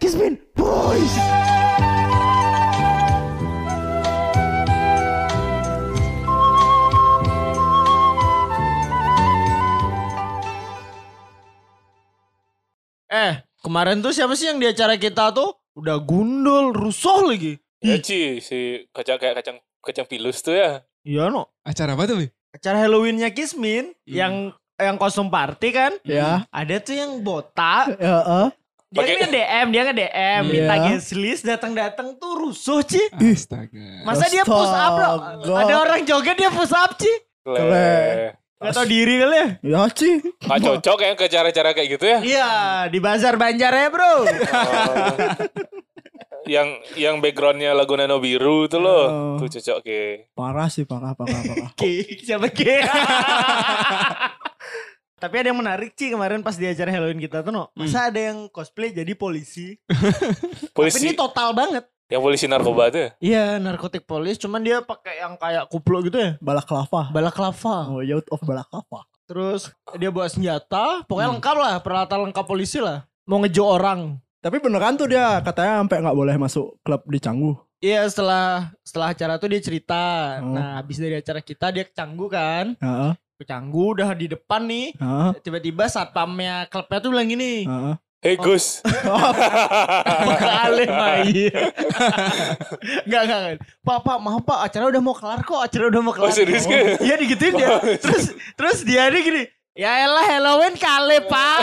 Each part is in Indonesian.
He's been boys. Eh, Eh, kemarin tuh siapa sih yang di acara kita tuh udah gundul, rusuh lagi. Ya, Ci, si kacang kayak kacang kacang pilus tuh ya. Iya no. Iya. Acara apa tuh? Bi? Acara Halloweennya Kismin yang yang kostum party kan? Ya. Ada tuh yang botak. Heeh. Dia Pakai- nge DM, dia nge DM, minta Iya. guest list, datang-datang tuh rusuh Ci. Astaga. Masa dia push up loh? Astaga. Ada orang joget dia push up Ci. Leh. Gak tau diri kali ya. Ya sih. Gak cocok ya ke cara-cara kayak gitu ya. Iya, di bazar Banjar ya bro. Oh. yang yang backgroundnya lagu Nano Biru tuh loh. Oh. Tuh cocok ke. Parah sih, parah, parah, parah. Ki, siapa Ki? Tapi ada yang menarik Ci kemarin pas di acara Halloween kita tuh no. Masa ada yang cosplay jadi polisi? Tapi Polisi ini total banget. yang polisi narkoba tuh. ya? Iya, narkotik polis. Cuman dia pakai yang kayak kuplo gitu ya. Balaklava. Balaklava. Oh, Youth of Balaklava. Terus dia bawa senjata. Pokoknya lengkap lah. Peralatan lengkap polisi lah. Hmm. Mau ngejo orang. Tapi beneran tuh dia katanya sampai nggak boleh masuk klub di Canggu. Iya setelah setelah acara tuh dia cerita. Oh. Nah habis dari acara kita dia ke Canggu kan. Heeh, Ke Canggu udah di depan nih. heeh, Tiba-tiba satpamnya klubnya tuh bilang gini. heeh. Hey Gus. Kali mai. Enggak enggak. enggak. Pak, Pak, maaf Pak, acara udah mau kelar kok. Acara udah mau kelar. Oh, serius ke? Iya digituin dia. Terus terus dia ini gini. Ya elah Halloween kali, Pak.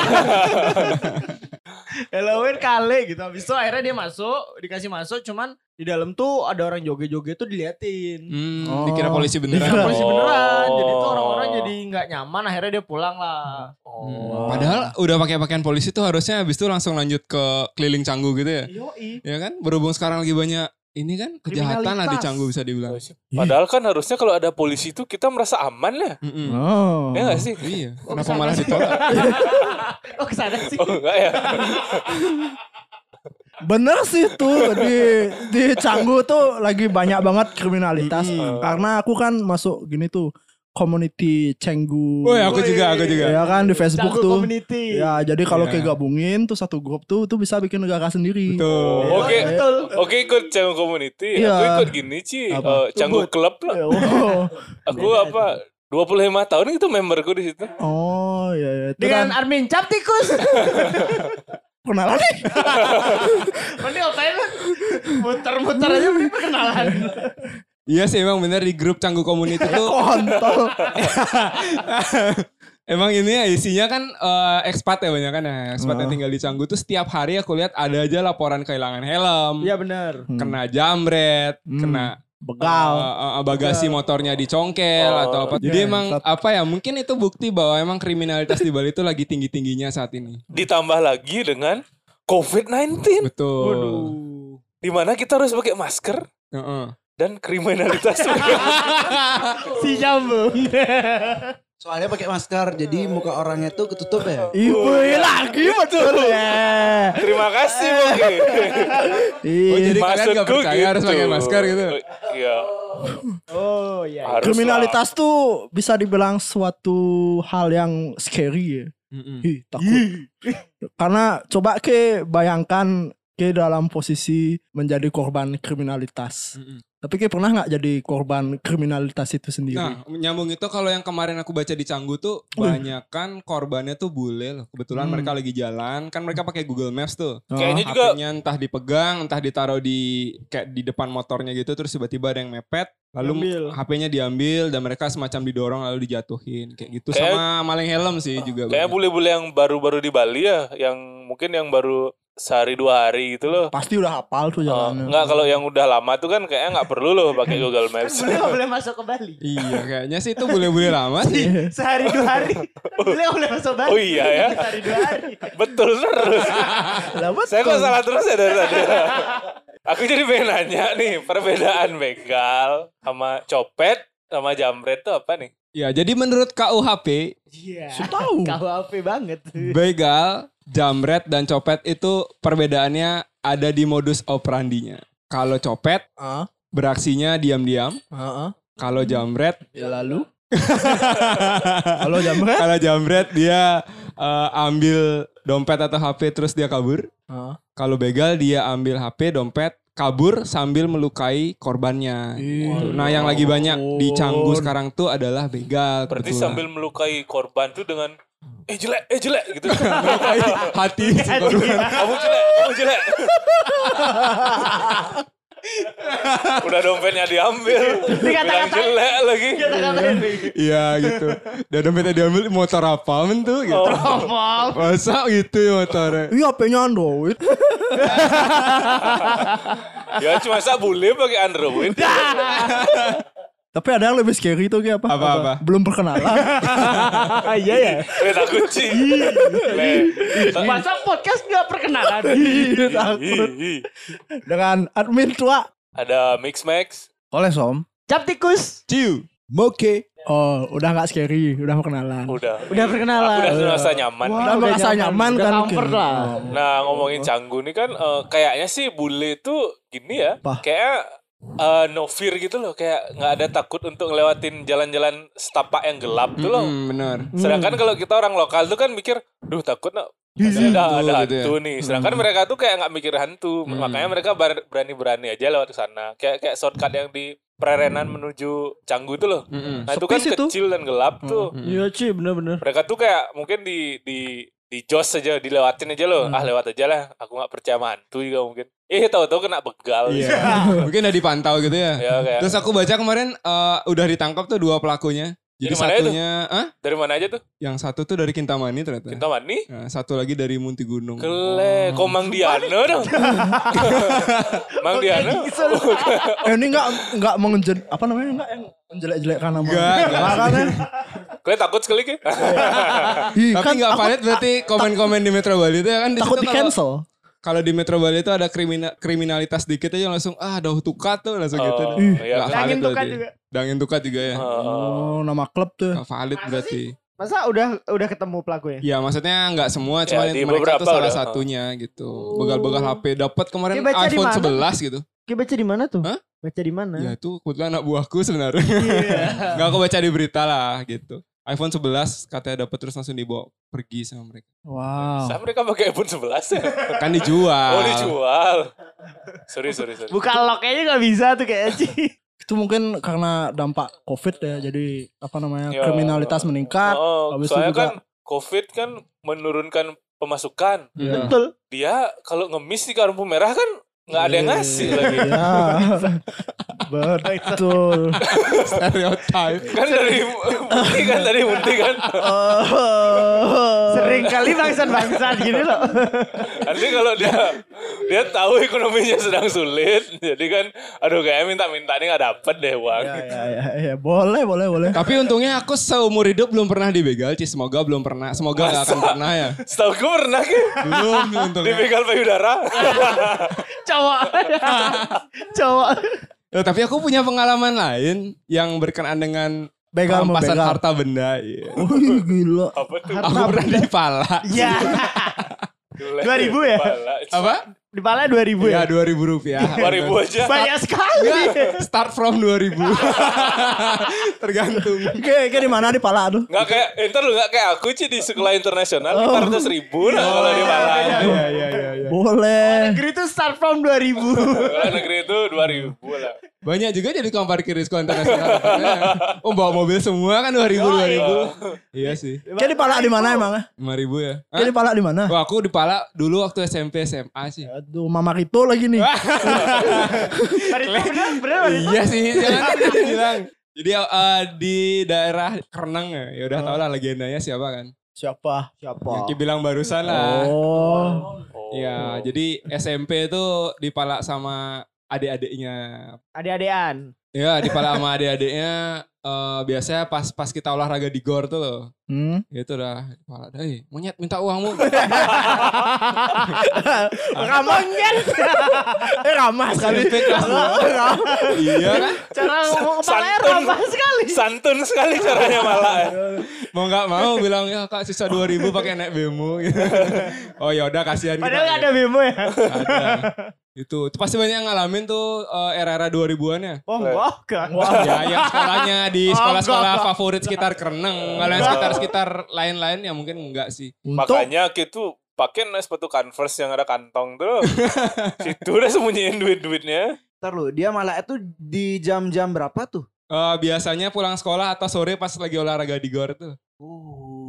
Halloween kali gitu. Habis itu akhirnya dia masuk, dikasih masuk cuman di dalam tuh ada orang joget-joget tuh diliatin. Hmm, Oh. dikira polisi beneran. Dikira polisi Oh. beneran. Jadi tuh orang-orang jadi nggak nyaman akhirnya dia pulang lah. Oh, Hmm, Padahal udah pakai pakaian polisi tuh harusnya habis itu langsung lanjut ke keliling canggu gitu ya. Yoi. Ya kan? Berhubung sekarang lagi banyak ini kan kejahatan lah Kriminalitas. di canggu bisa dibilang. Padahal kan harusnya kalau ada polisi tuh kita merasa aman lah. Mm-mm. Oh. Ya gak sih? Hmm, Iya. Oh, Kenapa kesana malah sih. ditolak? Oh, kesana sih. Oh enggak ya. Bener sih tuh di di Canggu tuh lagi banyak banget kriminalitas. Karena aku kan masuk gini tuh community Canggu. Woi, aku juga, aku juga. Ya kan di Facebook Canggu tuh. community. Ya, jadi kalau Iya. kegabungin tuh satu grup tuh tuh bisa bikin negara sendiri. Betul. Oh, Oke. Betul. Oke ikut Canggu Community. Iya. Aku ikut gini Ci. Apa? Eh, Canggu Club lah. Ya, Oh, Aku apa 25 tahun itu memberku di situ. oh ya, ya. Itu Dengan kan Armin Cap tikus. kenalan nih. Mending ngapain lu? Muter-muter aja mending perkenalan. Iya sih emang bener di grup canggu community tuh Kontol. Emang ini ya isinya kan eh, ekspat ya banyak kan ya. Ekspat yang Heeh. tinggal di Canggu tuh setiap hari aku lihat ada aja laporan kehilangan helm, Iya benar. kena jamret, Hmm. kena Begal. eh, eh, bagasi Iya. motornya dicongkel Oh, atau apa. oke. Jadi emang Mantap. apa ya? Mungkin itu bukti bahwa emang kriminalitas di Bali itu lagi tinggi-tingginya saat ini. Ditambah lagi dengan COVID-19. Betul. di mana kita harus pakai masker Heeh. dan kriminalitas. juga. Si nyambung. Soalnya pakai masker, jadi muka orangnya tuh ketutup ya. Ibu lagi betul ya. Terima kasih Bang. Iya. Oh, jadi kalian Maksudku gak percaya harus pakai masker gitu. Iya. Oh iya. harus Kriminalitas tuh bisa dibilang suatu hal yang scary ya. Mm-mm. Ih, takut. Karena coba ke bayangkan ke dalam posisi menjadi korban kriminalitas. Mm-mm. Tapi ke pernah nggak jadi korban kriminalitas itu sendiri? Nah, nyambung itu kalau yang kemarin aku baca di Canggu tuh Wih. banyak kan korbannya tuh bule loh. Kebetulan Hmm. mereka lagi jalan, kan mereka pakai Google Maps tuh. Oh, Kayaknya juga HP-nya entah dipegang, entah ditaruh di kayak di depan motornya gitu terus tiba-tiba ada yang mepet, lalu Ambil. HP-nya diambil dan mereka semacam didorong lalu dijatuhin kayak gitu Kayak- sama maling helm sih juga. kayaknya banyak. bule-bule yang baru-baru di Bali ya, yang mungkin yang baru sehari dua hari gitu loh. Pasti udah hafal Eh, tuh jalannya. enggak kalau yang udah lama tuh kan kayaknya nggak perlu loh pakai Google Maps. Boleh nggak Kan boleh masuk ke Bali? Iya, kayaknya sih itu bule-bule lama sih. Sehari dua hari. Boleh nggak boleh masuk Bali? Oh iya ya. Sehari dua hari. Betul terus. Saya kok salah terus ya dari tadi. Aku jadi pengen nanya nih, perbedaan begal sama copet sama jamret tuh apa nih? Ya, jadi menurut KUHP, Iya. Su- tahu. Kau apa banget. Iya. Iya. begal, jamret dan copet itu perbedaannya ada di modus operandinya. Kalau copet Ah, beraksinya diam-diam, ah, ah. Hmm. kalau jamret Ya lalu Kalau jamret? Kalau jambret dia eh, ambil dompet atau HP terus dia kabur. Heeh. Kalau begal dia ambil HP, dompet, kabur sambil melukai korbannya. Gitu. Nah yang lagi banyak di Canggu sekarang tuh adalah begal. Berarti kebetulan. sambil melukai korban tuh dengan eh jelek, eh jelek gitu. melukai hati si korban. kamu jelek, kamu jelek. Udah dompetnya diambil. Bilang Dikata-katain. jelek lagi. Kata-katain. Iya gitu. Dan dompetnya diambil motor apa men tuh gitu. Oh. Tropol. Masa gitu ya motornya. Iya, HP-nya Android. Ya cuma saya boleh pakai Android. Tapi ada yang lebih scary tuh kayak apa? Apa, apa? Belum perkenalan. Iya ya. Kereta kucing. Le. Masa podcast gak perkenalan? Ih, Iya, takut. Ih, ih. Dengan admin tua. Ada Mix Max. Oleh som. Cap tikus. Ciu. Oke. Oh, udah nggak scary, udah perkenalan. Udah. Udah Aku perkenalan. Oh, udah merasa nyaman. Udah merasa nyaman udah kan, comfort Ki? lah. Oh. Nah ngomongin Canggu nih kan eh, kayaknya sih bule itu gini ya. Apa? Kayak eh, no fear gitu loh. Kayak nggak ada takut untuk ngelewatin jalan-jalan setapak yang gelap tuh loh. Hmm, bener. Sedangkan kalau kita orang lokal tuh kan mikir, duh takut nak ada, ada gitu ya. hantu nih. Sedangkan mereka tuh kayak nggak mikir hantu, makanya mereka bar- berani-berani aja lewat ke sana. Kayak kayak shortcut yang di pererenan menuju Canggu tuh loh. Mm-mm. Nah itu Sepi kan sih tuh. Hmm, kecil dan gelap tuh. Iya Ci bener-bener. Mereka tuh kayak mungkin di di di jos aja dilewatin aja Hmm. loh. Ah lewat aja lah, aku nggak percaya sama hantu juga mungkin. Eh tahu-tahu kena begal. Iya. Mungkin udah dipantau gitu ya. Ah. Ya, kayak, Terus aku baca kemarin eh, udah ditangkap tuh dua pelakunya. Jadi Yang mana itu? satunya, ah, dari mana aja tuh? yang satu tuh dari Kintamani ternyata. Kintamani? Nah, satu lagi dari Munti Gunung. Kele, Oh. kok Mang Diano dong? Mang Diano? Eh, ini nggak nggak mengenjen apa namanya nggak yang menjelek-jelekkan nama. Nggak, nggak. Makanya, Kalian takut sekali ke? kan? ih, Tapi kan nggak aku valid berarti komen-komen di Metro Bali itu ya kan di takut situ di kalau- cancel. Kalau di Metro Bali itu ada krimina- kriminalitas dikit aja langsung ah ada tukat tuh langsung Oh, gitu. iya, Nggak kan. valid Dangin tukat berarti. juga. Dangin tukat juga ya. Oh, Oh, nama klub tuh. Nggak valid berarti. Masa udah udah ketemu pelakunya? Ya maksudnya nggak semua cuma Ya, di mereka beberapa tuh salah udah. satunya gitu. Begal-begal HP dapat kemarin Dia baca di iPhone mana? 11 gitu. Ki baca di mana tuh? Hah? Baca di mana? Ya itu kebetulan anak buahku sebenarnya. Iya. Gak aku baca di berita lah gitu. iPhone 11 katanya dapat terus langsung dibawa pergi sama mereka. Wow. Saya mereka pakai iPhone 11 ya. Kan dijual. Ah. Oh dijual. Sorry sorry sorry. Buka lock aja gak bisa tuh kayak Ci. Itu mungkin karena dampak COVID ya. Jadi apa namanya? Ya. kriminalitas meningkat. Oh, habis itu soalnya juga- kan COVID kan menurunkan pemasukan. Iya. Betul. Dia kalau ngemis di karung merah kan nggak ada yang ngasih Iya, lagi. Ya. Betul. Stereotype. Kan dari Munti kan dari Munti kan. Oh. Sering kali bangsa-bangsa gini loh. Nanti kalau dia dia tahu ekonominya sedang sulit, jadi kan aduh kayak minta-minta nih nggak dapet deh uang. Iya, ya, ya, ya, ya. Boleh, boleh, boleh. Tapi untungnya aku seumur hidup belum pernah dibegal, Ci. Semoga belum pernah. Semoga gak akan pernah ya. Setahu gue pernah ke Belum untungnya. dibegal payudara. Cowok. Cowok. Eh, tapi aku punya pengalaman lain yang berkenaan dengan Begal Uh, perampasan membegal. harta benda. Iya. Wih, gila. Apa tuh? Aku pernah dipala. Ya. Iya. 2000 ya? Apa? Di pala 2000 ya. Iya. Ya 2000 rupiah. 2000 aja. Banyak sekali. Iya. Start from 2000. Tergantung. Oke, oke di mana di pala aduh. Nggak kayak, eh, ntar lu nggak kayak aku sih di sekolah internasional, lima ratus ribu lah kalau di Malang. Oh. Iya, iya, iya. iya. Boleh. Negeri itu start from 2000. Kalau negeri itu dua ribu lah. Banyak juga jadi tukang parkir di sekolah internasional. Makanya, oh bawa mobil semua kan Oh, iya. Oh, iya. 2000 2000. Iya sih. Oke di pala di mana emang? 5000 ya. Oke Hah? di pala di mana? Wah, aku dipala dulu waktu SMP SMA sih. Aduh, Mama Rito lagi nih. Bener, bener, bener. iya sih, jangan kan bilang. Jadi eh, di daerah Kerenang ya, ya udah tau lah legendanya siapa kan. Siapa? Yang Siapa? Ki bilang barusan lah. Oh. Iya, jadi SMP itu dipalak sama adik-adiknya. Adik-adikan. Iya, dipalak sama adik-adiknya. eh, biasanya pas pas kita olahraga di gor tuh loh. Hmm. Gitu dah, dipalak. Hei, monyet minta uangmu. Ah. Ramongan. Eh ramah sekali. Respect kelas dua. Iya kan? Cara ngomong kepalanya Santun. Iya, ramah sekali. Santun sekali caranya malah. Mau nggak mau bilang ya kak sisa 2000 pakai naik bemo gitu. Oh ya udah kasihan kita. Padahal gak iya. ada bemo ya. Ada. eh, Itu, itu pasti banyak yang ngalamin tuh eh, era-era 2000-an ya. Oh, wow. Ya yang sekolahnya Oh, di sekolah-sekolah enggak, enggak. favorit sekitar Kereneng, kalau yang Enggak. sekitar-sekitar lain-lain ya mungkin enggak sih. Untuk Makanya gitu pakai nih sepatu Converse yang ada kantong tuh. Situ udah sembunyiin duit-duitnya. Ntar lu, dia malah itu di jam-jam berapa tuh? Eh, biasanya pulang sekolah atau sore pas lagi olahraga di gor tuh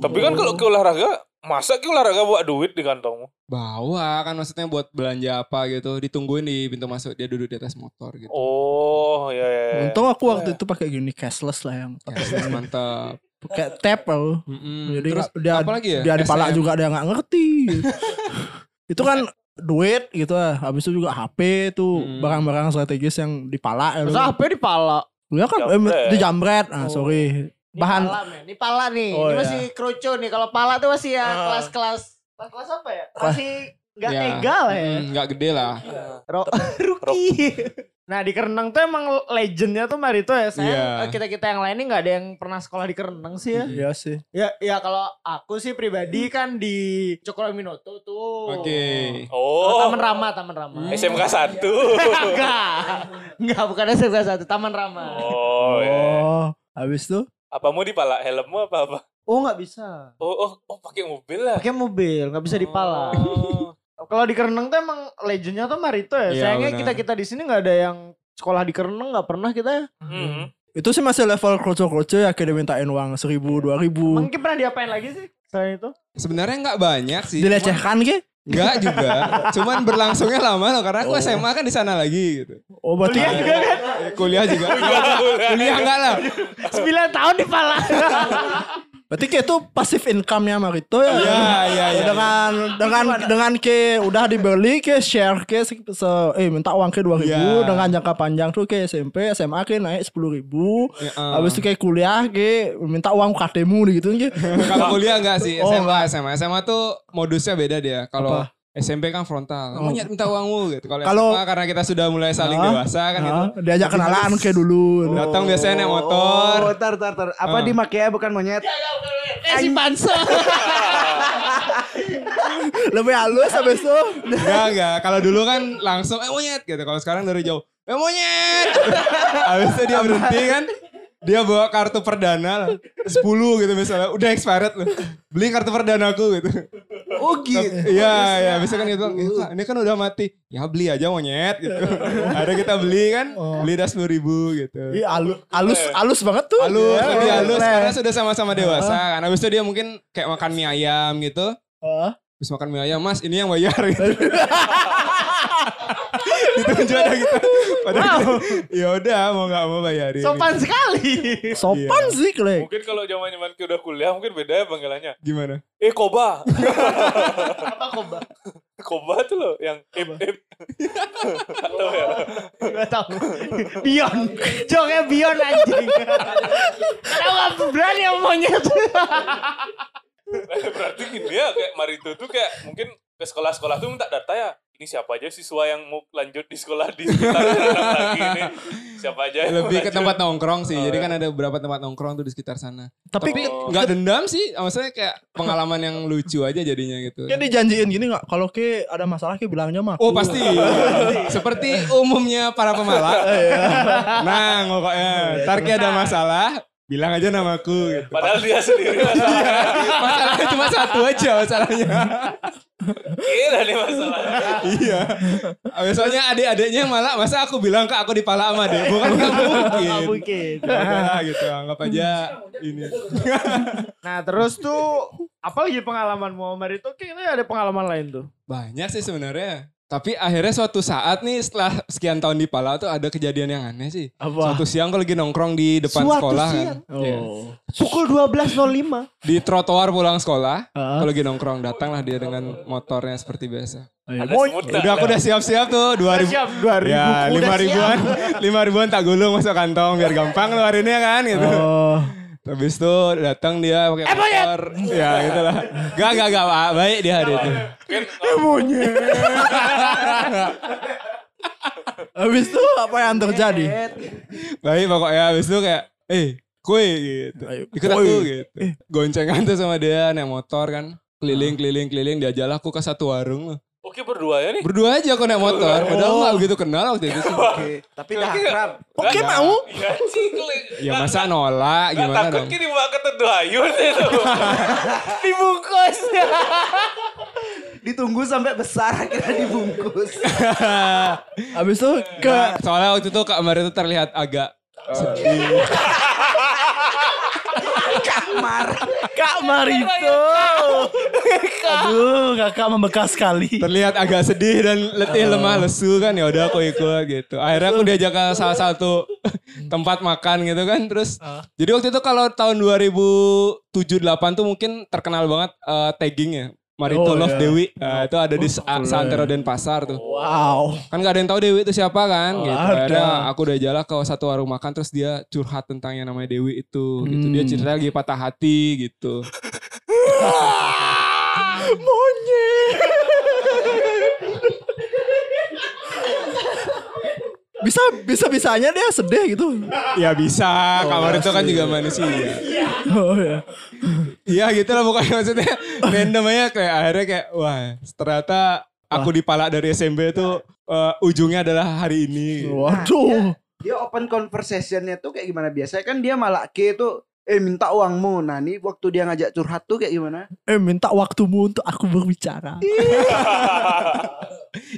Tapi kan kalau Oh. ke olahraga, masa ke olahraga bawa duit di kantongmu? bawa kan maksudnya buat belanja apa gitu ditungguin di pintu masuk dia duduk di atas motor gitu. Oh, ya ya. ya. untung aku waktu itu pakai gini cashless lah yang Ya, mantap. pakai tap aku. Hmm, Mm-mm. Jadi Terus nggak- dia- apa lagi ya? Dia dipalak SM. juga ada yang nggak ngerti. itu kan duit gitu lah. Habis itu juga HP tuh Hmm. barang-barang strategis yang dipalak. Ya, Masa HP dipala? Ya kan eh, Jambret. itu jambret. Ah, Oh. sorry. Ini Bahan pala, men. Ini pala nih. Oh, ini iya. masih kerucu nih. Kalau pala tuh masih ya Ah. kelas-kelas. Kelas apa ya? Kelas- Masih gak Ya. tega lah ya. Hmm. Mm, nggak gede lah. Ro- Rookie. nah di Kereneng tuh emang legendnya tuh Marito ya. Saya Iya. eh, kita-kita yang lain ini gak ada yang pernah sekolah di Kereneng sih ya. Iya sih. Ya, ya kalau aku sih pribadi kan di Cokroaminoto tuh. Oke. Oh, Oh, Taman Rama, Taman Rama. SMK 1. Enggak. Enggak, bukan SMK 1, Taman Rama. oh, ya. Oh, habis itu Apamu dipalak helmmu apa apa? Oh, nggak bisa. Oh, oh, oh pakai mobil lah. Pakai mobil, nggak bisa dipala. Oh. Kalau di Kereneng tuh emang legendnya tuh Marito ya. Iya, Sayangnya benar. kita kita di sini nggak ada yang sekolah di Kereneng nggak pernah kita. ya. Mhm. itu sih masih level kroco-kroco ya kayak dimintain uang seribu dua ribu Mungkin pernah diapain lagi sih selain itu? Sebenarnya nggak banyak sih. gitu? dilecehkan ke Enggak juga. Cuman berlangsungnya lama loh karena aku SMA kan di sana lagi gitu. oh berarti Kuliah juga kan? Eh, Kuliah juga. Kuliah enggak lah. 9 tahun dipala. berarti kayak itu pasif income nya Marito ya Iya, iya, iya. dengan dengan dengan ke udah dibeli ke share ke se, se- eh minta uang ke dua ribu Iya. dengan jangka panjang tuh ke SMP SMA ke naik sepuluh ribu Ya, eh. habis itu kayak kuliah ke minta uang KTmu gitu ke Kalau kuliah enggak sih Oh, SMA SMA SMA tuh modusnya beda dia. Kalau SMP kan frontal. Oh. Kamu nyet minta uangmu gitu. Kalau Kalau- SMA karena kita sudah mulai saling Ah, dewasa kan gitu. Oh. Nah, diajak kenalan ke dulu Datang biasanya naik motor. Oh, tar, tar, tar. Ah. Apa iya, dimakainya bukan monyet? eh si Panso. lebih halus habis itu Enggak, enggak. Kalau dulu kan langsung eh monyet gitu. Kalau sekarang dari jauh, eh monyet. Habis itu dia berhenti kan. Dia bawa kartu perdana lah. 10 gitu misalnya. Udah expired loh. Beli kartu perdana aku gitu. Oh gitu. Iya, iya. Bisa kan gitu. "Ya, Kak, ini kan udah mati. Ya beli aja monyet gitu. Ada kita beli kan. Beli dah 10 ribu gitu. Oh. Iya, halus, halus, halus banget tuh. Halus, Iya, lebih halus. boleh. Karena sudah sama-sama dewasa kan. Habis itu dia mungkin kayak makan mie ayam gitu. Heeh. Terus makan mie ayam, mas ini yang bayar gitu. Ditunjuk ada gitu. Padahal ya udah mau nggak mau bayarin. Sopan sekali. Sopan Iya. sih, Klek. Mungkin kalau zaman zaman udah kuliah mungkin beda ya panggilannya. Gimana? Eh Koba, Apa kok, Mbak? Koba tuh loh yang ip ip. Atau ya. Gak tau Bion Joknya Bion anjing Karena gak berani sama monyet Berarti gini ya kayak Marito tuh kayak mungkin ke sekolah-sekolah tuh minta data ya. Ini siapa aja siswa yang mau lanjut di sekolah di sekitar Serang lagi ini. Siapa aja yang mau Lebih ke lanjut? tempat nongkrong sih. Jadi kan ada beberapa tempat nongkrong tuh di sekitar sana. Tapi Tapi, kayak nggak dendam sih. Maksudnya kayak pengalaman yang lucu aja jadinya gitu. kayak dijanjiin gini nggak? Kalau ke ada masalah ke bilangnya mah. Oh pasti. Seperti umumnya para pemalak. Nah pokoknya. Ntar kayak ada masalah, bilang aja namaku gitu. Padahal dia sendiri masalah. Masalahnya cuma satu aja masalahnya. Kira nih masalahnya. iya. Biasanya adik-adiknya malah masa aku bilang ke aku dipala sama deh. Bukan nggak Gak mungkin. mungkin Ya udahlah gitu, anggap aja ini. Nah terus tuh Apa lagi pengalaman Muhammad itu Kayaknya ada pengalaman lain tuh Banyak sih sebenarnya. Tapi akhirnya suatu saat nih setelah sekian tahun di Pala tuh ada kejadian yang aneh sih. Apa? Suatu siang aku lagi nongkrong di depan Suatu sekolah siang? kan. Iya. Oh. Pukul 12.05 Di trotoar pulang sekolah, Ah. aku lagi nongkrong datanglah dia dengan motornya seperti biasa. Ayo, Ada mau- semutan. Udah aku udah siap-siap tuh 2000 Siap 2000 Ya, kuda lima siap. ribuan, lima ribuan tak gulung masuk kantong biar gampang ngeluarinnya kan gitu. Oh. Habis itu datang dia pakai motor. Ya gitu lah. Gak, gak, gak. Pak. Baik dia hari itu. Mungkin Eh, Habis itu apa yang terjadi? Baik pokoknya. Habis itu kayak, eh kue gitu. Ayo, Ikut kue. aku gitu. Goncengan tuh sama dia naik motor kan. Keliling, keliling, keliling. Diajalah aku ke satu warung. loh. oh Coki berdua ya nih. Berdua aja aku naik motor. Padahal nggak begitu kenal waktu itu sih. Tapi dah akrab. Oke Nggak- mau? Iya cikle. Ya masa nolak Gak gimana takut dong? kini bawa ketendayun itu. Dibungkus. Ditunggu sampai besar akhirnya dibungkus. Abis itu ke Soalnya waktu itu Kak Maria itu terlihat agak sedih. Kak Marito. Aduh, kakak membekas sekali. Terlihat agak sedih dan Eh. letih lemah lesu kan ya udah aku ikut gitu. Akhirnya aku diajak ke salah satu Hmm. tempat makan gitu kan terus. Eh. Jadi waktu itu kalau tahun 2007 8 tuh mungkin terkenal banget eh, taggingnya. Marito Oh, Love iya. Dewi Eh, itu ada di Sa- Santero Denpasar tuh. Wow. Kan gak ada yang tahu Dewi itu siapa kan Oh, gitu. ada. Akhirnya aku udah jalan ke satu warung makan terus dia curhat tentang yang namanya Dewi itu gitu. Dia Hmm. cerita lagi patah hati gitu. Monyet. bisa bisa bisanya dia sedih gitu. ya bisa, iya kamar itu kan juga manusia. Oh ya. Iya gitu lah pokoknya maksudnya random aja kayak akhirnya kayak wah ternyata aku dipalak dari SMP itu eh, ujungnya adalah hari ini. Waduh. Dia open conversation-nya tuh kayak gimana? Biasanya kan dia malah ke tuh eh minta uangmu. Nah, ini waktu dia ngajak curhat tuh kayak gimana? Eh minta waktumu untuk aku berbicara.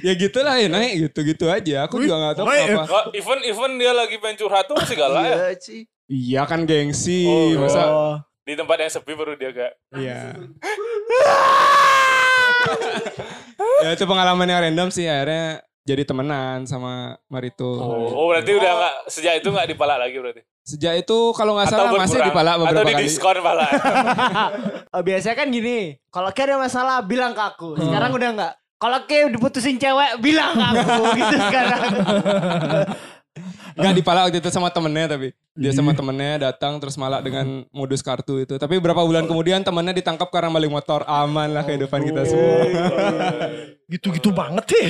Ya gitulah ya naik gitu-gitu aja. Aku Wih, juga gak tahu naik ya. kenapa. Wah, Oh, even even dia lagi pengen curhat tuh masih galak ya. Iya, Ci. Iya kan gengsi, Oh, iya. masa Oh. Di tempat yang sepi baru dia kayak Iya. ya itu pengalaman yang random sih akhirnya jadi temenan sama Marito. Oh, berarti udah nggak sejak itu nggak dipalak lagi berarti. Sejak itu kalau nggak Atau salah masih berkurang. dipalak atau beberapa di kali. diskon malah. Eh, biasanya kan gini, kalau kayak ada masalah bilang ke aku. Hmm. Sekarang udah enggak. Kalau kayak diputusin cewek bilang ke aku gitu sekarang. Gak dipalak waktu itu sama temennya tapi dia sama temennya datang terus malak dengan modus kartu itu. Tapi berapa bulan kemudian temennya ditangkap karena maling motor. Aman lah kehidupan kita semua. Gitu-gitu banget sih.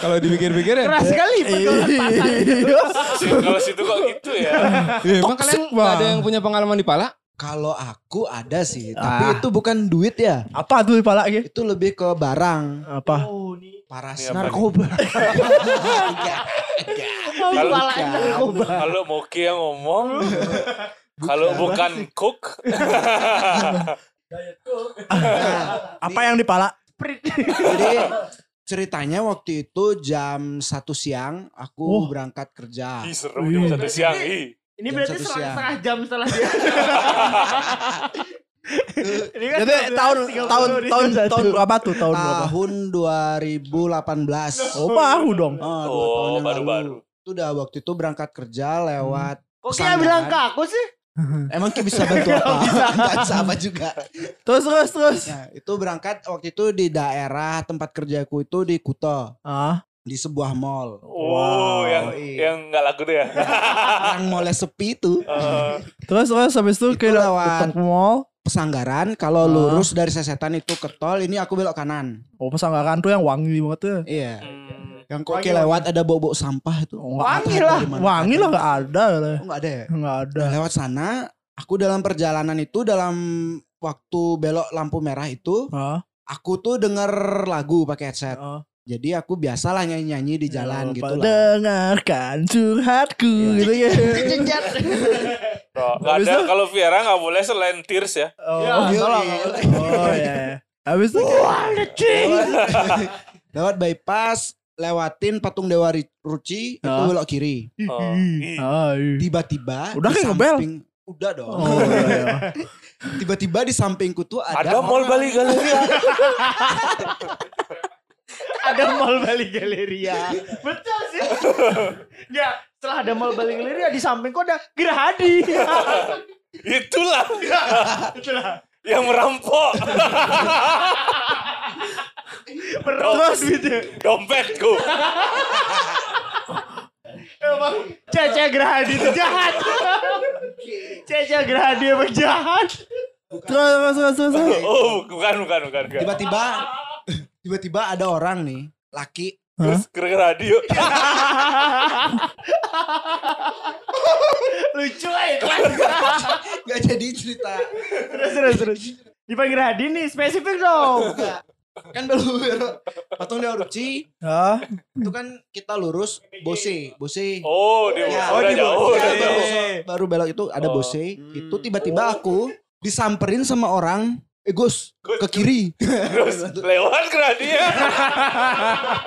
Kalau dipikir-pikir ya. Keras sekali Iya. pergaulan pasar. Kalau situ kok gitu ya. ya emang Toxic kalian gak ada banget. yang punya pengalaman dipalak? Kalau aku ada sih, Ah. tapi itu bukan duit ya. Apa tuh dipalak lagi? Itu lebih ke barang, Apa? Oh, paras Ini apa narkoba. Iya. Kalau- Kepala narkoba. Kalau Moki yang ngomong, kalau bukan cook, Apa yang dipalak? Nah, Jadi ceritanya waktu itu jam satu siang aku Oh. berangkat kerja. ih serem jam satu siang. Ih. Ini Jam berarti satu setengah, siang. setengah jam setelah dia. Ini kan Jadi tahun 30 tahun di tahun satu. tahun berapa tuh? Tahun berapa? Tahun 2018. Oh, baru dong. Oh, dua tahun Oh, yang baru-baru. lalu. Itu udah waktu itu berangkat kerja lewat. Hmm. Kok kayak bilang ke aku sih? Emang Ki bisa bantu apa? Gak bisa apa juga. Terus terus terus. Nah, itu berangkat waktu itu di daerah tempat kerjaku itu di Kuto, Ah, di sebuah mall. Oh, yang iya. yang nggak laku tuh ya. Yang mallnya sepi itu. Eh, terus terus habis itu Itu ke lewat- lewat mall. Pesanggaran kalau Ah. lurus dari sesetan itu ke tol, ini aku belok kanan. Oh, pesanggaran tuh yang wangi banget tuh. Iya. hmm. Yang koki lewat ada bau-bau sampah itu. Oh, nggak Wangi ada. Wangi lah nggak ada lah. Enggak ada ya? Nggak ada. Nah, lewat sana, aku dalam perjalanan itu dalam waktu belok lampu merah itu, Hah? aku tuh denger lagu pakai headset. Oh. Jadi aku biasalah nyanyi-nyanyi di jalan Ya, gitu lah. Dengarkan curhatku gitu ya. Tuh, nggak Habis ada itu? kalau Viera nggak boleh selain tears ya. Oh, Ya, nggak salah, boleh. nggak Oh ya. Habis itu Oh, Lewat bypass, lewatin patung Dewa Ri- Ruci, itu Ah. belok kiri. Oh, ih. Ah, iya. Tiba-tiba Udah di kayak ngebel. samping- Udah dong. Oh, iya. Tiba-tiba di sampingku tuh ada, Ada mall Bali Galeria. ada mall Bali Galeria. Betul sih. ya, setelah ada mall Bali Galeria di samping kok ada Gerhadi. Itulah Itulah. yang merampok Berobos gitu. dompetku. Emang Caca Gerhadi itu jahat. Caca Gerhadi emang jahat. Terus terus terus terus. terus. Oh, bukan bukan bukan. bukan. Tiba-tiba tiba-tiba ada orang nih, laki Terus gara-gara radio. Lucu aja. Gak jadi cerita. Terus, terus, terus. Dipanggil Gerhadi nih, spesifik dong. kan dulu patung dia erupsi Hah? itu kan kita lurus bose bose Oh, dia Ya, udah di jauh, bawah. udah Iya, iya. baru, jauh. baru belok itu ada Oh. bose itu tiba-tiba aku disamperin sama orang eh Gus ke kiri Terus lewat gradien.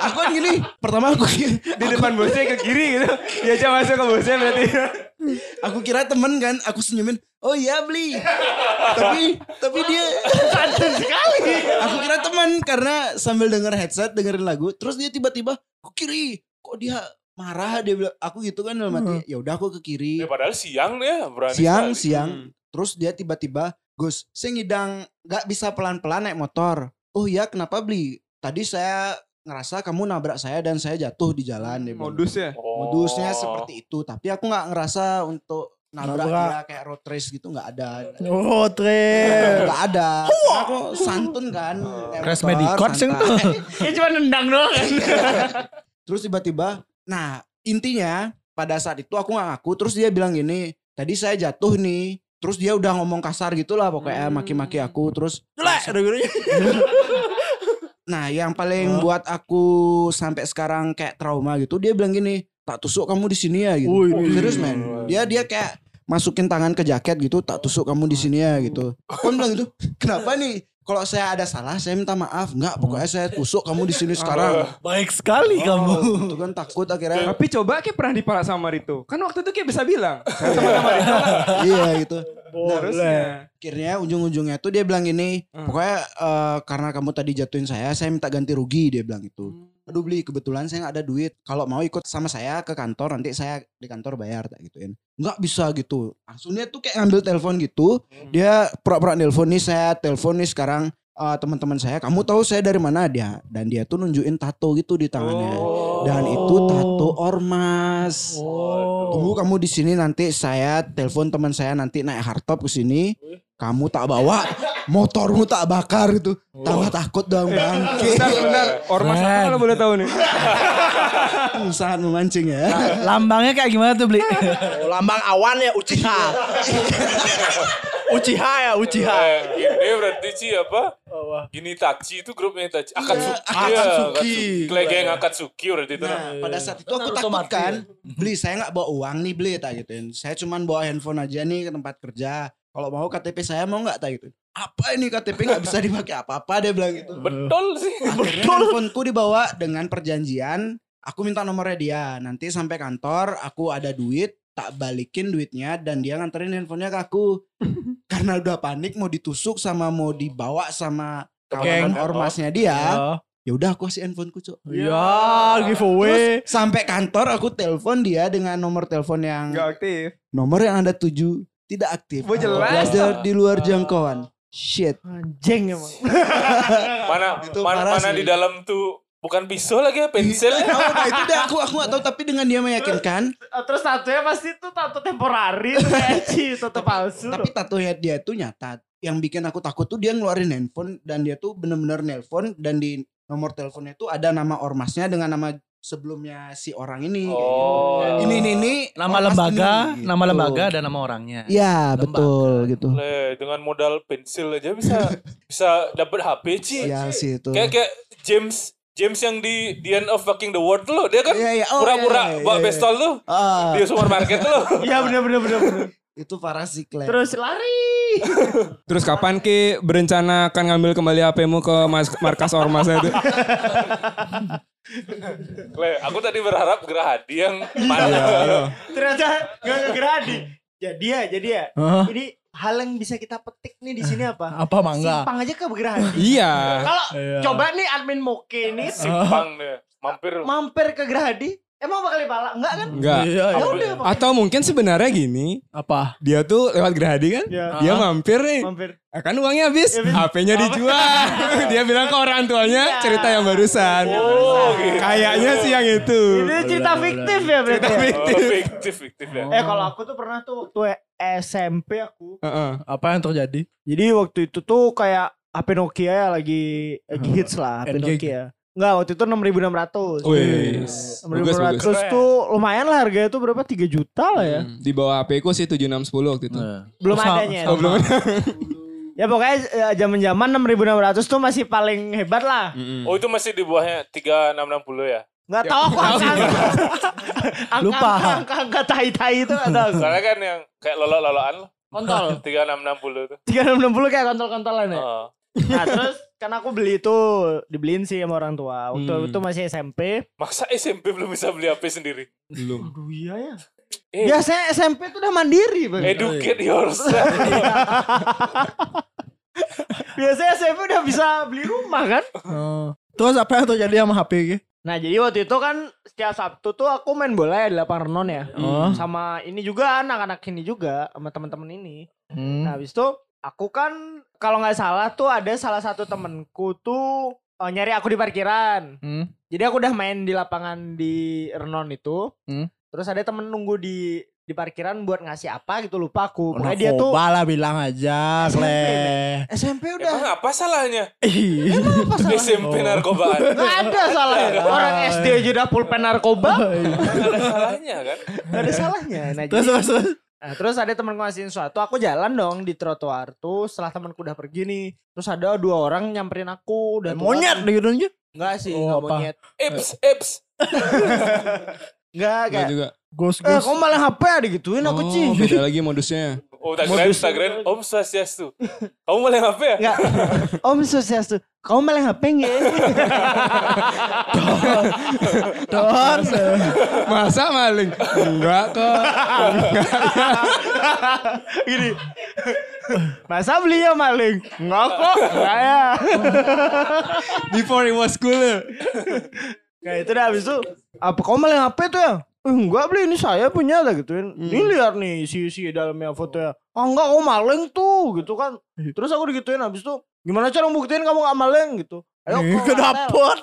aku kan gini pertama aku ki- Di depan Kan bosnya ke kiri gitu. Diajak masuk ke bosnya berarti. aku kira temen kan aku senyumin oh iya beli tapi tapi dia Santun sekali. aku kira teman karena sambil denger headset dengerin lagu terus dia tiba-tiba ke kiri kok dia marah dia bilang aku gitu kan dalam hati ya udah aku ke kiri Ya, padahal siang ya, berani. siang sekali. siang terus dia tiba-tiba Gus saya ngidang nggak bisa pelan-pelan naik motor oh iya kenapa beli tadi saya ngerasa kamu nabrak saya dan saya jatuh di jalan dia bilang. Modus ya. Oh. modusnya seperti itu tapi aku nggak ngerasa untuk nabrak Nabrak. dia kayak road race gitu nggak ada Oh, Tre. nggak ada Karena aku santun kan naik Crash motor, Bandicoot sih santai. Ya cuma nendang doang kan. terus tiba-tiba nah intinya pada saat itu aku nggak ngaku terus dia bilang gini tadi saya jatuh nih terus dia udah ngomong kasar gitulah pokoknya maki-maki aku terus Jelek, ada gurunya. Nah, yang paling buat aku sampai sekarang kayak trauma gitu, dia bilang gini, tak tusuk kamu di sini ya gitu. Wih, Serius men, dia dia kayak masukin tangan ke jaket gitu, tak tusuk kamu di sini ya gitu. Aku bilang gitu, kenapa nih? Kalau saya ada salah, saya minta maaf. Enggak, Hmm. pokoknya saya tusuk kamu di sini sekarang. Baik sekali kamu. Itu kan takut akhirnya. Tapi coba kayak pernah dipalak sama Rito. Kan waktu itu kayak bisa bilang. Sama sama Rito. iya gitu. Harusnya. Akhirnya ujung-ujungnya tuh dia bilang gini, pokoknya eh, karena kamu tadi jatuhin saya, saya minta ganti rugi dia bilang gitu. Aduh beli kebetulan saya nggak ada duit. Kalau mau ikut sama saya ke kantor nanti saya di kantor bayar tak gituin. Nggak bisa gitu. Langsungnya tuh kayak ambil telepon gitu. Dia pura-pura telepon nih saya telepon nih sekarang eh, teman-teman saya. Kamu tahu saya dari mana dia? Dan dia tuh nunjukin tato gitu di tangannya. Dan itu tato ormas. Tunggu kamu di sini nanti saya telepon teman saya nanti naik hardtop ke sini. Kamu tak bawa, motormu tak bakar itu. Tambah takut dong bangke. Bentar, bentar. Ormas apa Keren. kalau boleh tahu nih? Hmm, Sangat memancing ya. Lambangnya kayak gimana tuh, Bli? lambang awan ya, Uchiha. Uchiha ya, Uchiha. Eh, ini berarti sih apa? Gini Tachi itu grupnya Tachi. Akatsuki. Iya, Akatsuki. Klegeng Akatsuki berarti itu. Nah, pada saat itu aku Naruto takut mati. kan. Beli, saya nggak bawa uang nih beli tak gituin. Saya cuman bawa handphone aja nih ke tempat kerja. Kalau mau KTP saya mau nggak tak gituin. Apa ini KTP nggak bisa dipakai apa-apa dia bilang gitu. Betul sih. Akhirnya handphoneku dibawa dengan perjanjian aku minta nomornya dia nanti sampai kantor aku ada duit tak balikin duitnya dan dia nganterin handphonenya ke aku karena udah panik mau ditusuk sama mau dibawa sama kawan Geng. ormasnya dia ya udah aku kasih handphoneku cok Ya, giveaway. sampai kantor aku telepon dia dengan nomor telepon yang Gak aktif. nomor yang anda tuju tidak aktif Wah, jelas. belajar di luar jangkauan shit Anjing emang. Mana Iya. Itu mana, parah mana sih. di dalam tuh bukan pisau lagi ya, pensil. Nggak tahu, nah, itu deh aku aku nggak tahu tapi dengan dia meyakinkan Ah, Terus tatonya pasti tuh tato temporari tuh kayak Ci, tato palsu. Tapi tatonya dia tuh nyata. Yang bikin aku takut tuh dia ngeluarin handphone dan dia tuh bener-bener nelpon dan di nomor teleponnya tuh ada nama ormasnya dengan nama sebelumnya si orang ini. kayak Oh. gitu. Ini ini ini Nama ormas lembaga, ini, nama Oh. gitu. lembaga dan nama orangnya. Iya Lembaga. betul gitu. Le, dengan modal pensil aja bisa bisa dapat HP sih. Iya sih itu. Kayak kayak James James yang di The End of Fucking the World tuh loh, dia kan Iya, iya. Oh, iya, pura-pura iya, bawa iya. pistol tuh Ah, di supermarket tuh loh. Iya bener bener bener. bener. itu parah sih Clay. Terus lari. Terus kapan Ki berencana akan ngambil kembali HP-mu ke mas- markas ormasnya itu? Le, aku tadi berharap Gerahadi yang Iya. Iya. mana. Ternyata gak ngegeradi. Jadi ya, jadi ya. Jadi hal yang bisa kita petik nih di sini apa? Apa mangga? Simpang aja ke Gerahadi. Iya. Kalau Iya. coba nih admin Moke ini Simpang deh, mampir. mampir ke Gerahadi, emang bakal dipalak enggak kan? Enggak. Iya, Ya iya. udah Pak. Atau mungkin sebenarnya gini, Apa? dia tuh lewat Gerahadi kan? Iya. Dia mampir nih. mampir. Ah, Kan uangnya habis, Ya, habis. HP-nya dijual. dia bilang ke orang tuanya cerita yang barusan. Oh, gitu. Kayaknya sih yang itu. Ini cerita fiktif ya berarti. ya? Oh, fiktif, fiktif ya. Eh kalau aku tuh pernah tuh waktu SMP aku Heeh. Apa yang terjadi? Jadi waktu itu tuh kayak HP Nokia ya lagi lagi hits lah HP N-Gig. Nokia. Enggak, waktu itu 6600. Wes. Bagus, bagus. 6500 tuh lumayan lah harganya tuh berapa 3 juta lah ya. Hmm, Di bawah HP ku sih 7610 waktu itu. Nah. Belum Sama- adanya. Oh, belum ada. Ya pokoknya eh, zaman-zaman 6600 tuh masih paling hebat lah. Oh itu masih di bawahnya 3660 ya? Nggak tahu aku angka. Lupa. Angka-angka tai-tai itu nggak tahu. Soalnya kan yang kayak lolok-lolokan loh. Kontol. 3660 tuh. 3660 kayak kontol-kontolan ya. Heeh. Nah terus kan aku beli itu dibeliin sih sama orang tua. Waktu Hmm. itu masih SMP. Masa SMP belum bisa beli HP sendiri? Belum. Aduh iya ya. Eh, Biasanya SMP tuh udah mandiri bang. Educate yourself. Biasanya SMP udah bisa beli rumah kan. Oh. Terus apa yang terjadi sama HP gitu? Nah jadi waktu itu kan setiap Sabtu tuh aku main bola ya di lapangan renon ya. Oh. Sama ini juga anak-anak ini juga sama teman-teman ini. Hmm. Nah habis itu aku kan kalau nggak salah tuh ada salah satu temenku tuh eh, nyari aku di parkiran. Hmm. Jadi aku udah main di lapangan di Renon itu. Hmm. Terus ada temen nunggu di di parkiran buat ngasih apa gitu lupa aku. Nah, Pokoknya dia tuh lah bilang aja, SMP, Kleh. SMP Emang udah. apa salahnya? Ih. Apa salah? SMP narkobaan. Nggak ada salahnya. Orang SD aja udah pulpen Oh, narkoba. Nggak ada salahnya kan? Gak ada salahnya. Nah, iya. Terus jadi- terus terus. nah, terus ada temen ngasihin sesuatu. Aku jalan dong di trotoar tuh. Setelah temenku udah pergi nih. Terus ada dua orang nyamperin aku. Dan Monyet gitu aja. Enggak sih. nggak Oh, apa? monyet. Eps, eps. Enggak Enggak kayak. juga. Ghost Eh ghost. kok malah HP ada gituin aku Ci. Gitu. Oh, beda lagi modusnya. Oh, tak keren, tak keren. Om Swastiastu. Kamu mulai HP ya? Enggak. Om sosiastu. Kamu malah HP enggak? Don. Masa maling? Enggak kok. Gini. Masa beliau maling? Enggak kok. Enggak ya. Before it was cool. Nah itu dah habis itu. Apa kamu malah HP tuh ya? Eh, enggak beli ini saya punya lah gituin. Hmm. Ini lihat nih isi-isi dalamnya fotonya. Ah enggak kamu maling tuh gitu kan. Iya. Terus aku digituin habis itu. Gimana cara buktiin kamu gak maling gitu. Ayo Ih, ke hotel. Ke dapur.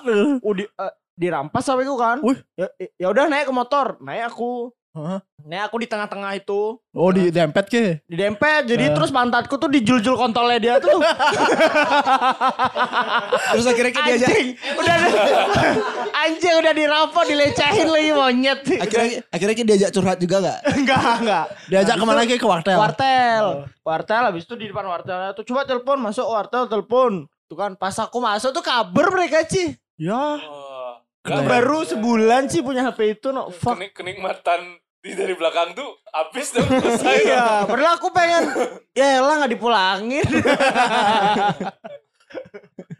Oh, di, eh, dirampas sampai itu kan. Wih. Ya, ya udah naik ke motor. Naik aku. Hah? Naik aku di tengah-tengah itu. Oh di dempet ke? didempet jadi Eh. terus pantatku tuh dijul-jul kontolnya dia tuh Terus akhirnya kayak diajak anjing udah anjing udah dirampok dilecehin lagi monyet akhirnya akhirnya kayak diajak curhat juga gak? enggak enggak Diajak kemana ke ke wartel? wartel wartel habis itu di depan wartel tuh coba telepon masuk wartel telepon tuh kan pas aku masuk tuh kabar mereka sih Ya. Oh, baru sebulan sih punya HP itu no fuck kenik kenikmatan di dari belakang tuh habis dong selesai. dong. iya padahal aku pengen ya lah nggak dipulangin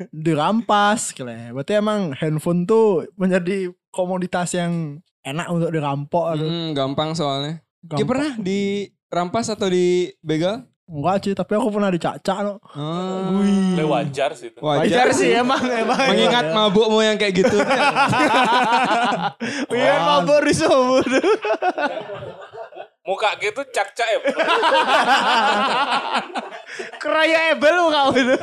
Dirampas, Kleh. Berarti emang handphone tuh menjadi komoditas yang enak untuk dirampok. aduh. Hmm, gampang soalnya. Gampang. Dia pernah dirampas atau dibegal? Enggak sih, tapi aku pernah dicacak no. Oh, Ya, wajar sih itu. wajar sih. Iya, emang emang Mengingat mabukmu yang kayak gitu. Biar mabur di sumur. Muka gitu cak-cak ya. Iya, Keraya ebel lu kau itu.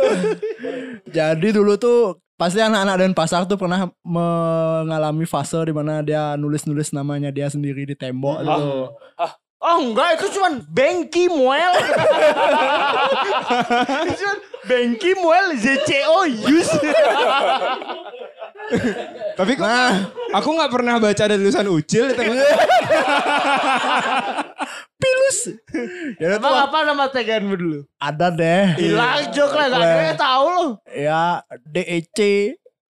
Jadi dulu tuh pasti anak-anak dan pasar tuh pernah mengalami fase di mana dia nulis-nulis namanya dia sendiri di tembok Ah, tuh. Oh enggak itu cuman Bengki Muel. Itu cuman Bengki Muel ZCO Yus. Tapi kok Nah, aku nggak pernah baca ada tulisan ucil. di tengah. Pilus. ya tuh Emang apa nama teganmu dulu? ada deh. Hilang jok lah gak ada yang tahu lu. Ya DEC.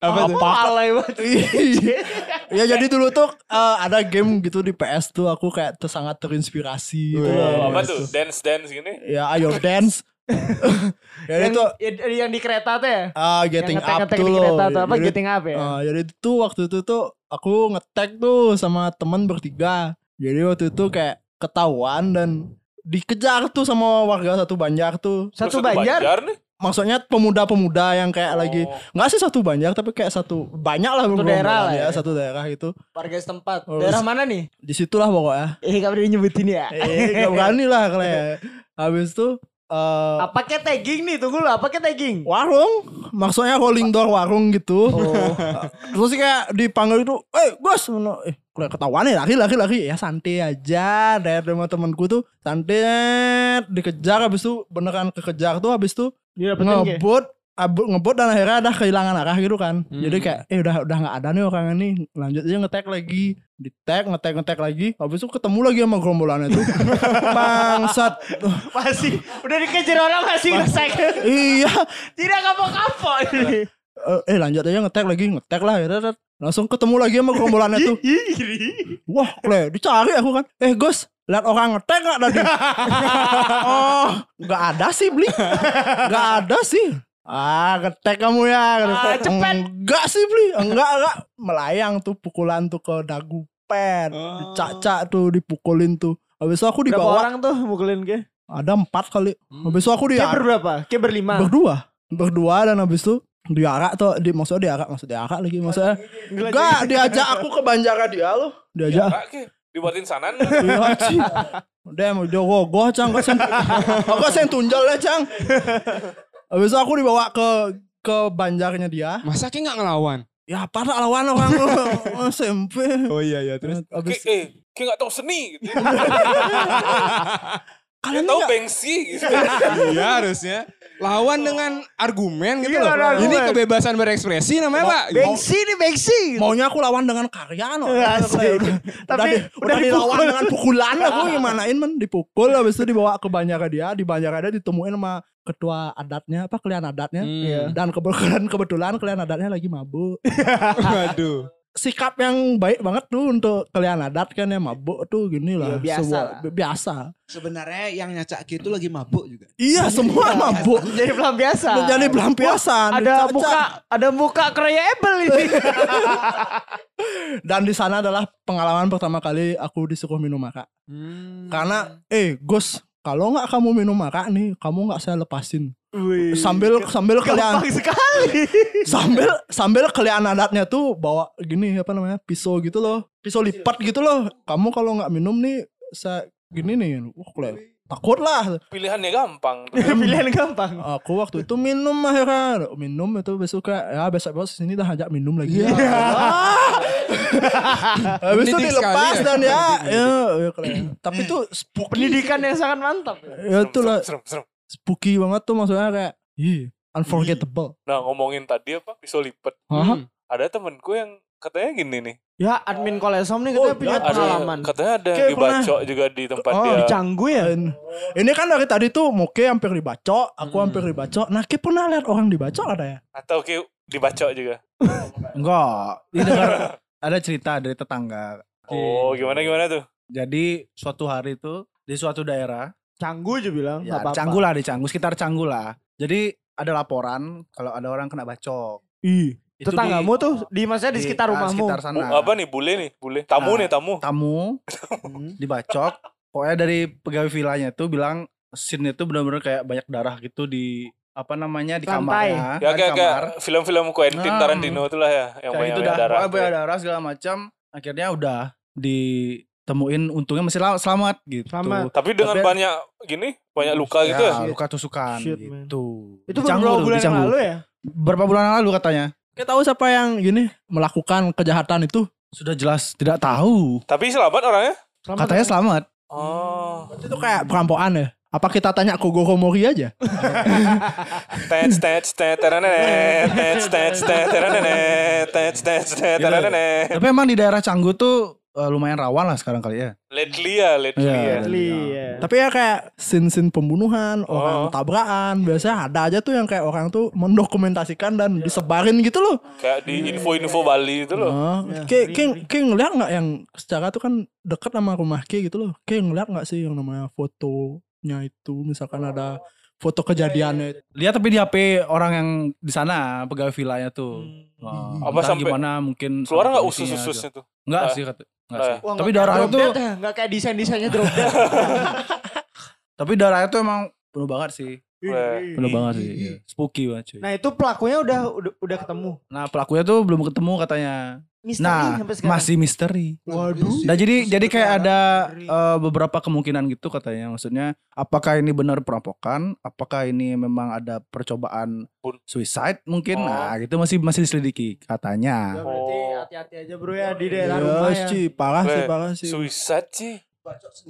Apa tuh? Alay banget. ya jadi dulu tuh eh, ada game gitu di PS tuh aku kayak ter- sangat terinspirasi gitu loh. Apa tuh? Dance dance gini. Ya ayo dance. ya Yang, itu yang- yang di kereta tuh ya? ah getting yang up ngetek-ngetek tuh di loh. kereta tuh apa? Jadi- Getting up ya? Ah, jadi itu waktu itu tuh aku ngetek tuh sama temen bertiga. Jadi waktu itu kayak ketahuan dan dikejar tuh sama warga satu banjar tuh. satu banjar? nih. Maksudnya pemuda-pemuda yang kayak lagi Oh. nggak sih satu banjar tapi kayak satu banyak lah bergerombolan daerah lah ya. ya, satu daerah gitu. Warga setempat. Oh, Daerah mana nih? Disitulah pokoknya. Eh gak boleh nyebutin ya. Eh, gak berani lah kalau ya. Habis itu eh, Apa kayak tagging nih? Tunggu lu apa kayak tagging? warung maksudnya rolling door warung gitu terus sih kayak dipanggil itu eh Gus Ngono. eh udah ketahuan ya lari lari lari ya santai aja dari rumah temanku tuh santai dikejar habis itu beneran kekejar tuh habis itu Dia dapetin kayak. ngebut abu- ngebut dan akhirnya ada kehilangan arah gitu kan Hmm. jadi kayak eh udah udah nggak ada nih orang ini lanjut aja ngetek lagi di tag ngetek ngetek lagi habis itu ketemu lagi sama gerombolannya tuh bangsat Masih udah dikejar orang masih ngesek. iya Tidak kapok-kapok ini. Eh, eh lanjut aja ngetek lagi ngetek lah akhirnya tet. langsung ketemu lagi sama gerombolannya tuh wah kle dicari aku kan eh Gus lihat orang ngetek nggak tadi oh nggak ada sih beli nggak ada sih ah ngetek kamu ya Ah, cepet. enggak sih beli enggak enggak melayang tuh pukulan tuh ke dagu pen dicacak tuh dipukulin tuh habis itu aku Oh. Berapa dibawa Iya. orang Hmm. tuh mukulin ke? ada empat kali habis itu aku Ke dia berberapa? Ke berlima. berdua berdua dan habis itu diarak tuh di maksudnya diarak maksudnya diarak lagi maksudnya enggak diajak aku ke banjara dia loh diajak Kak, ke, dibuatin sanan. iya Ci. udah mau jogo gue cang kok sen aku sen tunjal deh cang habis itu aku dibawa ke ke banjarnya dia Masa kayak nggak ngelawan? ya parah lawan orang SMP Oh iya iya terus. Ki, habis eh, ki gak tau seni. Gitu. Iya. kalian tau enggak Banksy. Gitu. iya harusnya. Lawan dengan argumen gitu Iya, loh. ada Ini argumen. kebebasan berekspresi namanya pak. Bengsi nih Bengsi. maunya aku lawan dengan karya no. Iya, asik. udah, Tapi di- udah udah dilawan dipukul. dengan pukulan aku gimanain men dipukul habis itu dibawa ke banjara dia di banjara dia ditemuin sama ketua adatnya apa kalian adatnya Iya. Hmm. dan kebetulan kebetulan kalian adatnya lagi mabuk Waduh. sikap yang baik banget tuh untuk kalian adat kan ya mabuk tuh gini Iya, lah biasa Semua- lah. bi- biasa Sebenarnya yang nyacak Ki itu lagi mabuk juga. iya semua mabuk Jadi pelan biasa. menjadi pelampiasan Ada dicacah. muka, ada muka kraya Apple ini. dan di sana adalah pengalaman pertama kali aku disuruh minum maka Hmm. karena eh Gus kalau nggak kamu minum maka nih kamu nggak saya lepasin Wih. sambil sambil kalian Gampang sekali. sambil sambil kalian adatnya tuh bawa gini apa namanya pisau gitu loh pisau lipat gitu loh kamu kalau nggak minum nih saya gini nih wah kalian takut lah Pilihannya gampang. tuh. Pilihan gampang. aku Ah, waktu itu minum akhirnya minum itu besok kayak ya besok besok sini dah ajak minum lagi Iya. ya. habis itu Pendidik dilepas sekali ya. dan ya, ya, ya, kalian. tapi tuh spooky Pendidikan yang sangat mantap. ya itulah Serem, serem. serem. spooky banget tuh maksudnya kayak ih unforgettable Nah, ngomongin tadi apa, pisau lipat. Hmm. Hah? Ada temenku yang katanya gini nih. Ya admin kolesom nih katanya Oh, punya ya, Ada, pengalaman. katanya ada Kayak yang dibacok juga di tempat Oh, dia. Dicanggu ya. Dan ini kan dari tadi tuh Moke hampir dibacok, aku hampir Hmm. dibacok. Nah, Ki pernah lihat orang dibacok ada ya? Atau kayak dibacok juga. Enggak. Ini dengar- ada cerita dari tetangga. Oh, gimana gimana tuh? Jadi suatu hari itu di suatu daerah, Canggu aja bilang. ya, Kan nggak apa-apa. Canggu lah di Canggu, sekitar Canggu lah. Jadi ada laporan kalau ada orang kena bacok. Ih. Itu di- Tetanggamu tuh di maksudnya di sekitar ah, rumahmu. sekitar sana. Bu- Oh, apa nih bule nih, bule. Tamu Nah. nih, tamu. Tamu Hmm. dibacok. Pokoknya dari pegawai vilanya itu bilang scene itu benar-benar kayak banyak darah gitu di apa namanya di Lantai. kamarnya, Ya Nah, di kayak kayak kamar. film-film Quentin Hmm. Tarantino itulah ya yang kayak banyak itu dah banyak darah. pokoknya banyak darah segala macam akhirnya udah ditemuin untungnya masih la- selamat gitu Selamat. Tapi dengan Tapi- banyak gini, banyak luka gitu ya. ya, luka tusukan Shit, man. gitu Itu Dicanggu beberapa tuh, bulan yang dicanggu. lalu ya? berapa bulan yang lalu katanya Kita tahu siapa yang gini melakukan kejahatan itu? sudah jelas tidak tahu Tapi selamat orangnya. Selamat katanya selamat Oh, Itu kayak perampokan ya. Apa kita tanya Kogo Komori aja? tet tet tet teranenet, tet tet tet teranenet, tet tet tet teranenet. tapi emang di daerah Canggu tuh eh, lumayan rawan lah sekarang kali ya Ledli ya, Ledli ya. Iya. Asli, ya. Tapi ya kayak sin-sin pembunuhan, Oh. orang tabrakan, biasanya ada aja tuh yang kayak orang tuh mendokumentasikan dan disebarin gitu loh. Kayak di info-info Bali itu gitu loh. Nah, Ya, Ki, Ki, Ki ngeliat nggak yang secara tuh kan deket sama rumah Ki gitu loh. Ki ngeliat nggak sih yang namanya fotonya itu misalkan Oh, iya, ada foto kejadiannya itu. lihat tapi di HP orang yang di sana pegawai vilanya tuh Hmm. Wah, Hmm. Apa entah sampai- gimana mungkin Keluar nggak sama kondisinya usus-ususnya tuh? tuh. Enggak Nggak. ya? sih kata enggak Nggak sih. Wah, tapi nggak kayak darahnya drop tuh dead ya, nggak kayak desain desainnya drop dead. tapi darahnya tuh emang penuh banget sih. Wah. Penuh banget sih. iya. Spooky banget cuy. Nah itu pelakunya udah udah, udah ketemu. Nah, pelakunya tuh belum ketemu katanya. Misteri Nah, sampai sekarang. masih misteri. Waduh. Nah, jadi jadi kayak ada misteri. eh, beberapa kemungkinan gitu katanya. Maksudnya apakah ini benar perampokan? Apakah ini memang ada percobaan Bun- suicide mungkin? Oh. Nah, itu masih masih diselidiki Ya, katanya. berarti Oh. hati-hati aja bro ya di iya, daerah rumah Yes, ya. Ci, parah sih, Weh, parah sih. Eh, Suicide sih.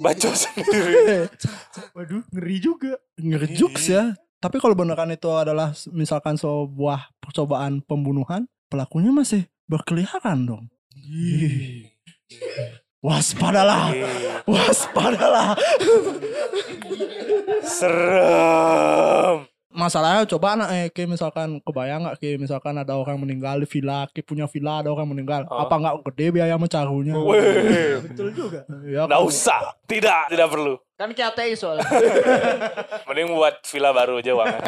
Bacok sendiri. Waduh ngeri juga. Ngeri jokes ya. Tapi kalau beneran itu adalah s- misalkan sebuah percobaan pembunuhan, pelakunya masih berkeliaran dong. Ih. Waspadalah, waspadalah. Serem. Masalahnya coba anak eh kayak misalkan kebayang nggak kayak misalkan ada orang meninggal di villa, kayak punya villa ada orang meninggal. Oh. Apa nggak gede biaya mencarunya? Wih. Betul juga. Ya, Nggak usah. Tidak, tidak perlu. Kan kayak TI soalnya. Mending buat villa baru aja uangnya.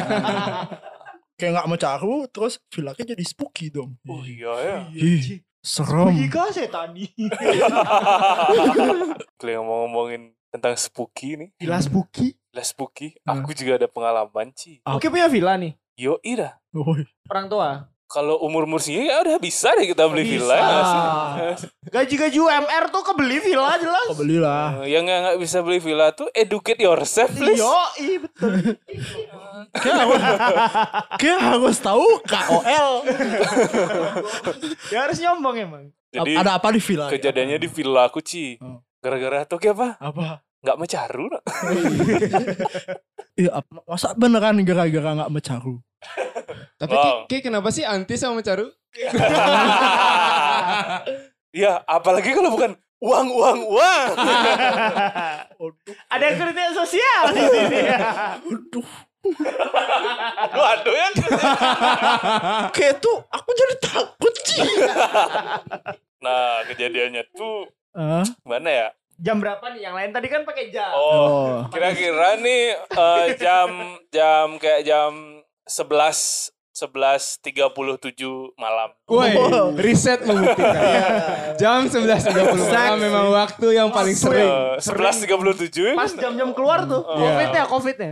kayak nggak mencaru, terus villanya jadi spooky dong. oh iya ya. Ih, serem. Jika tadi. Kalau ngomong-ngomongin tentang spooky nih. Villa Spooky. Lah spooky. Aku juga ada pengalaman Ci. Oke punya villa nih. Yo ira. Woi. Orang tua. Kalau umur-umur sini ya udah bisa deh kita beli Bisa. villa. ya nggak sih? Gaji-gaji UMR tuh kebeli villa jelas. Eh, Kebelilah. Yang nggak nggak bisa beli villa tuh educate yourself please. Yo, iya betul. Kayak harus, kayak harus tahu KOL. Ya harus nyombong emang. Jadi ada apa di villa? kejadiannya di villa aku Ci. Oh. Gara-gara tuh kayak apa? apa? Nggak mecaru. nak. Iya, apa- masa beneran gara-gara nggak mecaru? Tapi Wow. Ki- Ki, kenapa sih anti sama Caru? ya apalagi kalau bukan uang uang uang. Ada kritik sosial di sini. aduh aduh ya. Kayak itu aku jadi takut sih. Nah kejadiannya tuh Ah, mana ya? Jam berapa nih? Yang lain tadi kan pakai jam. Oh oh, Kira-kira nih eh, jam jam kayak jam 11 11.37 malam. Woi, riset membuktikan. ya. Jam 11.30 malam memang waktu yang paling sering. Eh, 11.37 Pas jam-jam keluar tuh. Oh. Covidnya, covidnya.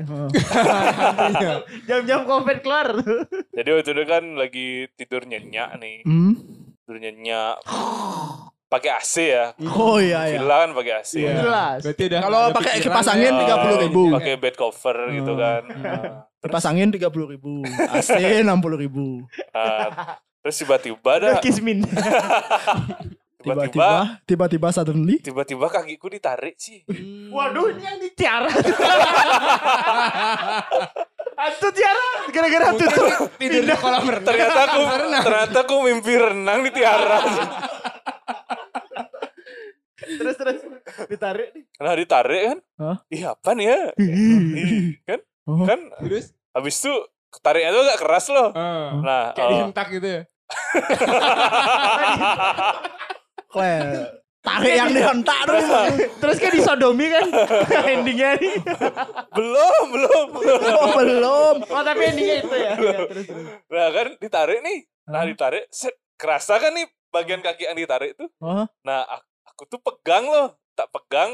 Jam-jam covid keluar tuh. Jadi waktu itu kan lagi tidur nyenyak nih, hmm? tidur nyenyak. Pakai AC ya. oh iya iya. Villa kan pakai AC. Iya. Jelas. Berarti udah Kalau nggak ada pakai pikiran kipas ya. angin Eh, 30 kan ribu. Pakai bed cover Oh, gitu kan. iya. Dipasangin tiga puluh ribu, AC enam puluh ribu. Eh, terus tiba-tiba ada Kismin. tiba-tiba Tiba-tiba, tiba-tiba Iya. suddenly tiba-tiba kakiku ditarik sih. Waduh, ini yang di tiara. Hantu tiara. Gara-gara hantu tuh. tidur di kolam renang. Ternyata aku Renang. ternyata aku mimpi renang di tiara. Terus, terus. Ditarik nih. Nah ditarik kan? Hah? Iya apa nih ya? Ih, kan? Oh. Kan? Terus Habis itu tariknya tuh agak keras loh. eh, Nah, kayak eh, dihentak gitu ya. kle tarik yang dihentak dong. Terus kayak disodomi kan. endingnya nih. belum, belum, belum. Oh, belum. Oh, tapi endingnya itu ya. Iya, terus, terus. Nah kan ditarik nih. Nah ditarik, set, kerasa kan nih bagian kaki yang ditarik tuh. Oh, Nah ak- aku, tuh pegang loh, tak pegang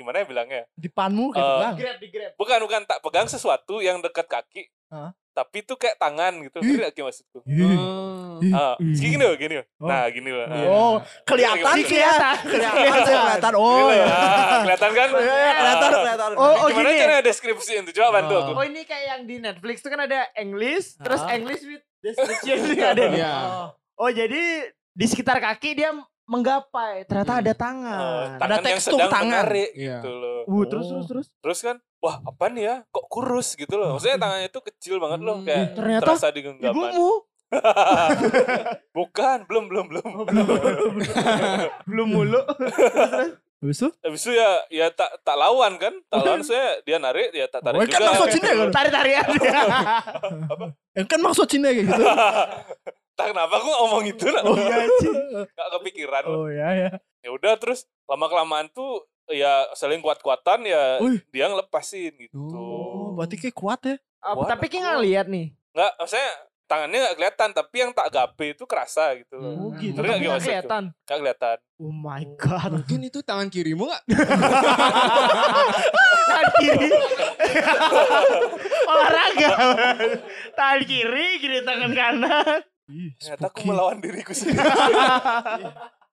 gimana ya bilangnya? di panmu kayak Eh, bilang. Ah, Grab, di grab. Bukan bukan tak pegang sesuatu yang dekat kaki. Hah? Tapi tuh kayak tangan gitu, ngerti gak sih maksudku? Ih, ih, Ah, ih. gini loh, gini loh. Oh. Nah, gini loh. Ah. Oh, kelihatan Ini Iya, sih ya. kelihatan. Kelihatan sih, kelihatan. Gini Oh, loh, iya. ah, kelihatan kan? Iya, iya, kelihatan, kelihatan. Oh, oh Gimana gini. ya? cara deskripsiin tuh? Coba bantu Ah. aku. Oh ini kayak yang di Netflix tuh kan ada English, terus English with description juga ada. nih. Iya. Oh jadi di sekitar kaki dia menggapai, ternyata ada Eh, tangan. tangan Ada yang tekstur sedang tangan. menarik Iya. gitu loh. Uh, terus terus terus. Terus kan, wah apa nih ya? Kok kurus gitu loh. Maksudnya Iya. tangannya tuh kecil banget loh Hmm. kayak Ternyata terasa di genggaman. Ibumu Bukan, belum belum belum. Oh, belum mulu. Habis itu? Habis itu ya ya tak tak lawan kan? Tak lawan saya dia narik, ya tak tarik Oh, juga. kan masuk sini kan? Tarik tarian. Eh, kan maksud Cina kayak gitu. tak kenapa aku ngomong gitu nak. Oh iya, Ci. Nggak kepikiran. Oh iya ya. Ya udah terus lama kelamaan tuh ya saling kuat-kuatan ya Wih. dia ngelepasin gitu. Oh, berarti kayak kuat ya. Apa, Wah, tapi kayak nggak lihat nih. Nggak, maksudnya tangannya nggak kelihatan tapi yang tak gape itu kerasa gitu. Hmm. Oh gitu. Tapi Ternyata nggak nggak masuk tuh. kelihatan. Nggak kelihatan. Oh my god. Mungkin itu tangan kirimu gak? Tangan kiri. Olahraga. Tangan kiri, kiri tangan kanan. Ih, Ternyata aku spooky. melawan diriku sendiri.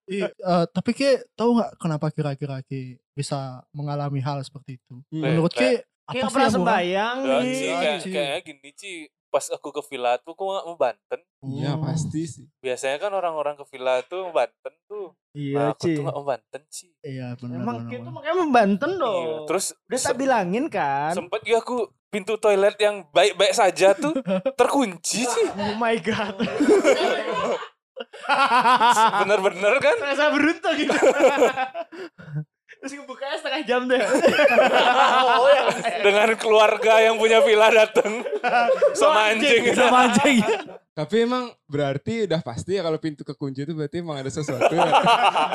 Ih, eh, tapi kayak tahu nggak kenapa kira-kira kayak bisa mengalami hal seperti itu? Menurut kayak apa Kayak pernah sih gitu. yang orang- sembayang Nggak, nih. Ci, Iya, kayak, Ci. kayaknya gini Ci. Pas aku ke villa tuh aku nggak mau Banten. Iya Oh. pasti sih. Biasanya kan orang-orang ke villa tuh Banten tuh. Iya, Nah, aku Ci. tuh nggak mau Banten Ci. Iya benar. Emang benar, itu benar. makanya membanten Iya. dong. Terus Udah se- tak bilangin kan. sempet ya aku pintu toilet yang baik-baik saja tuh terkunci sih. Oh my god. Bener-bener kan? Terasa beruntung gitu. Terus ngebukanya setengah jam deh. Dengan keluarga yang punya villa dateng sama anjing. Sama gitu. anjing. Tapi emang berarti udah pasti ya kalau pintu kekunci itu berarti emang ada sesuatu ya.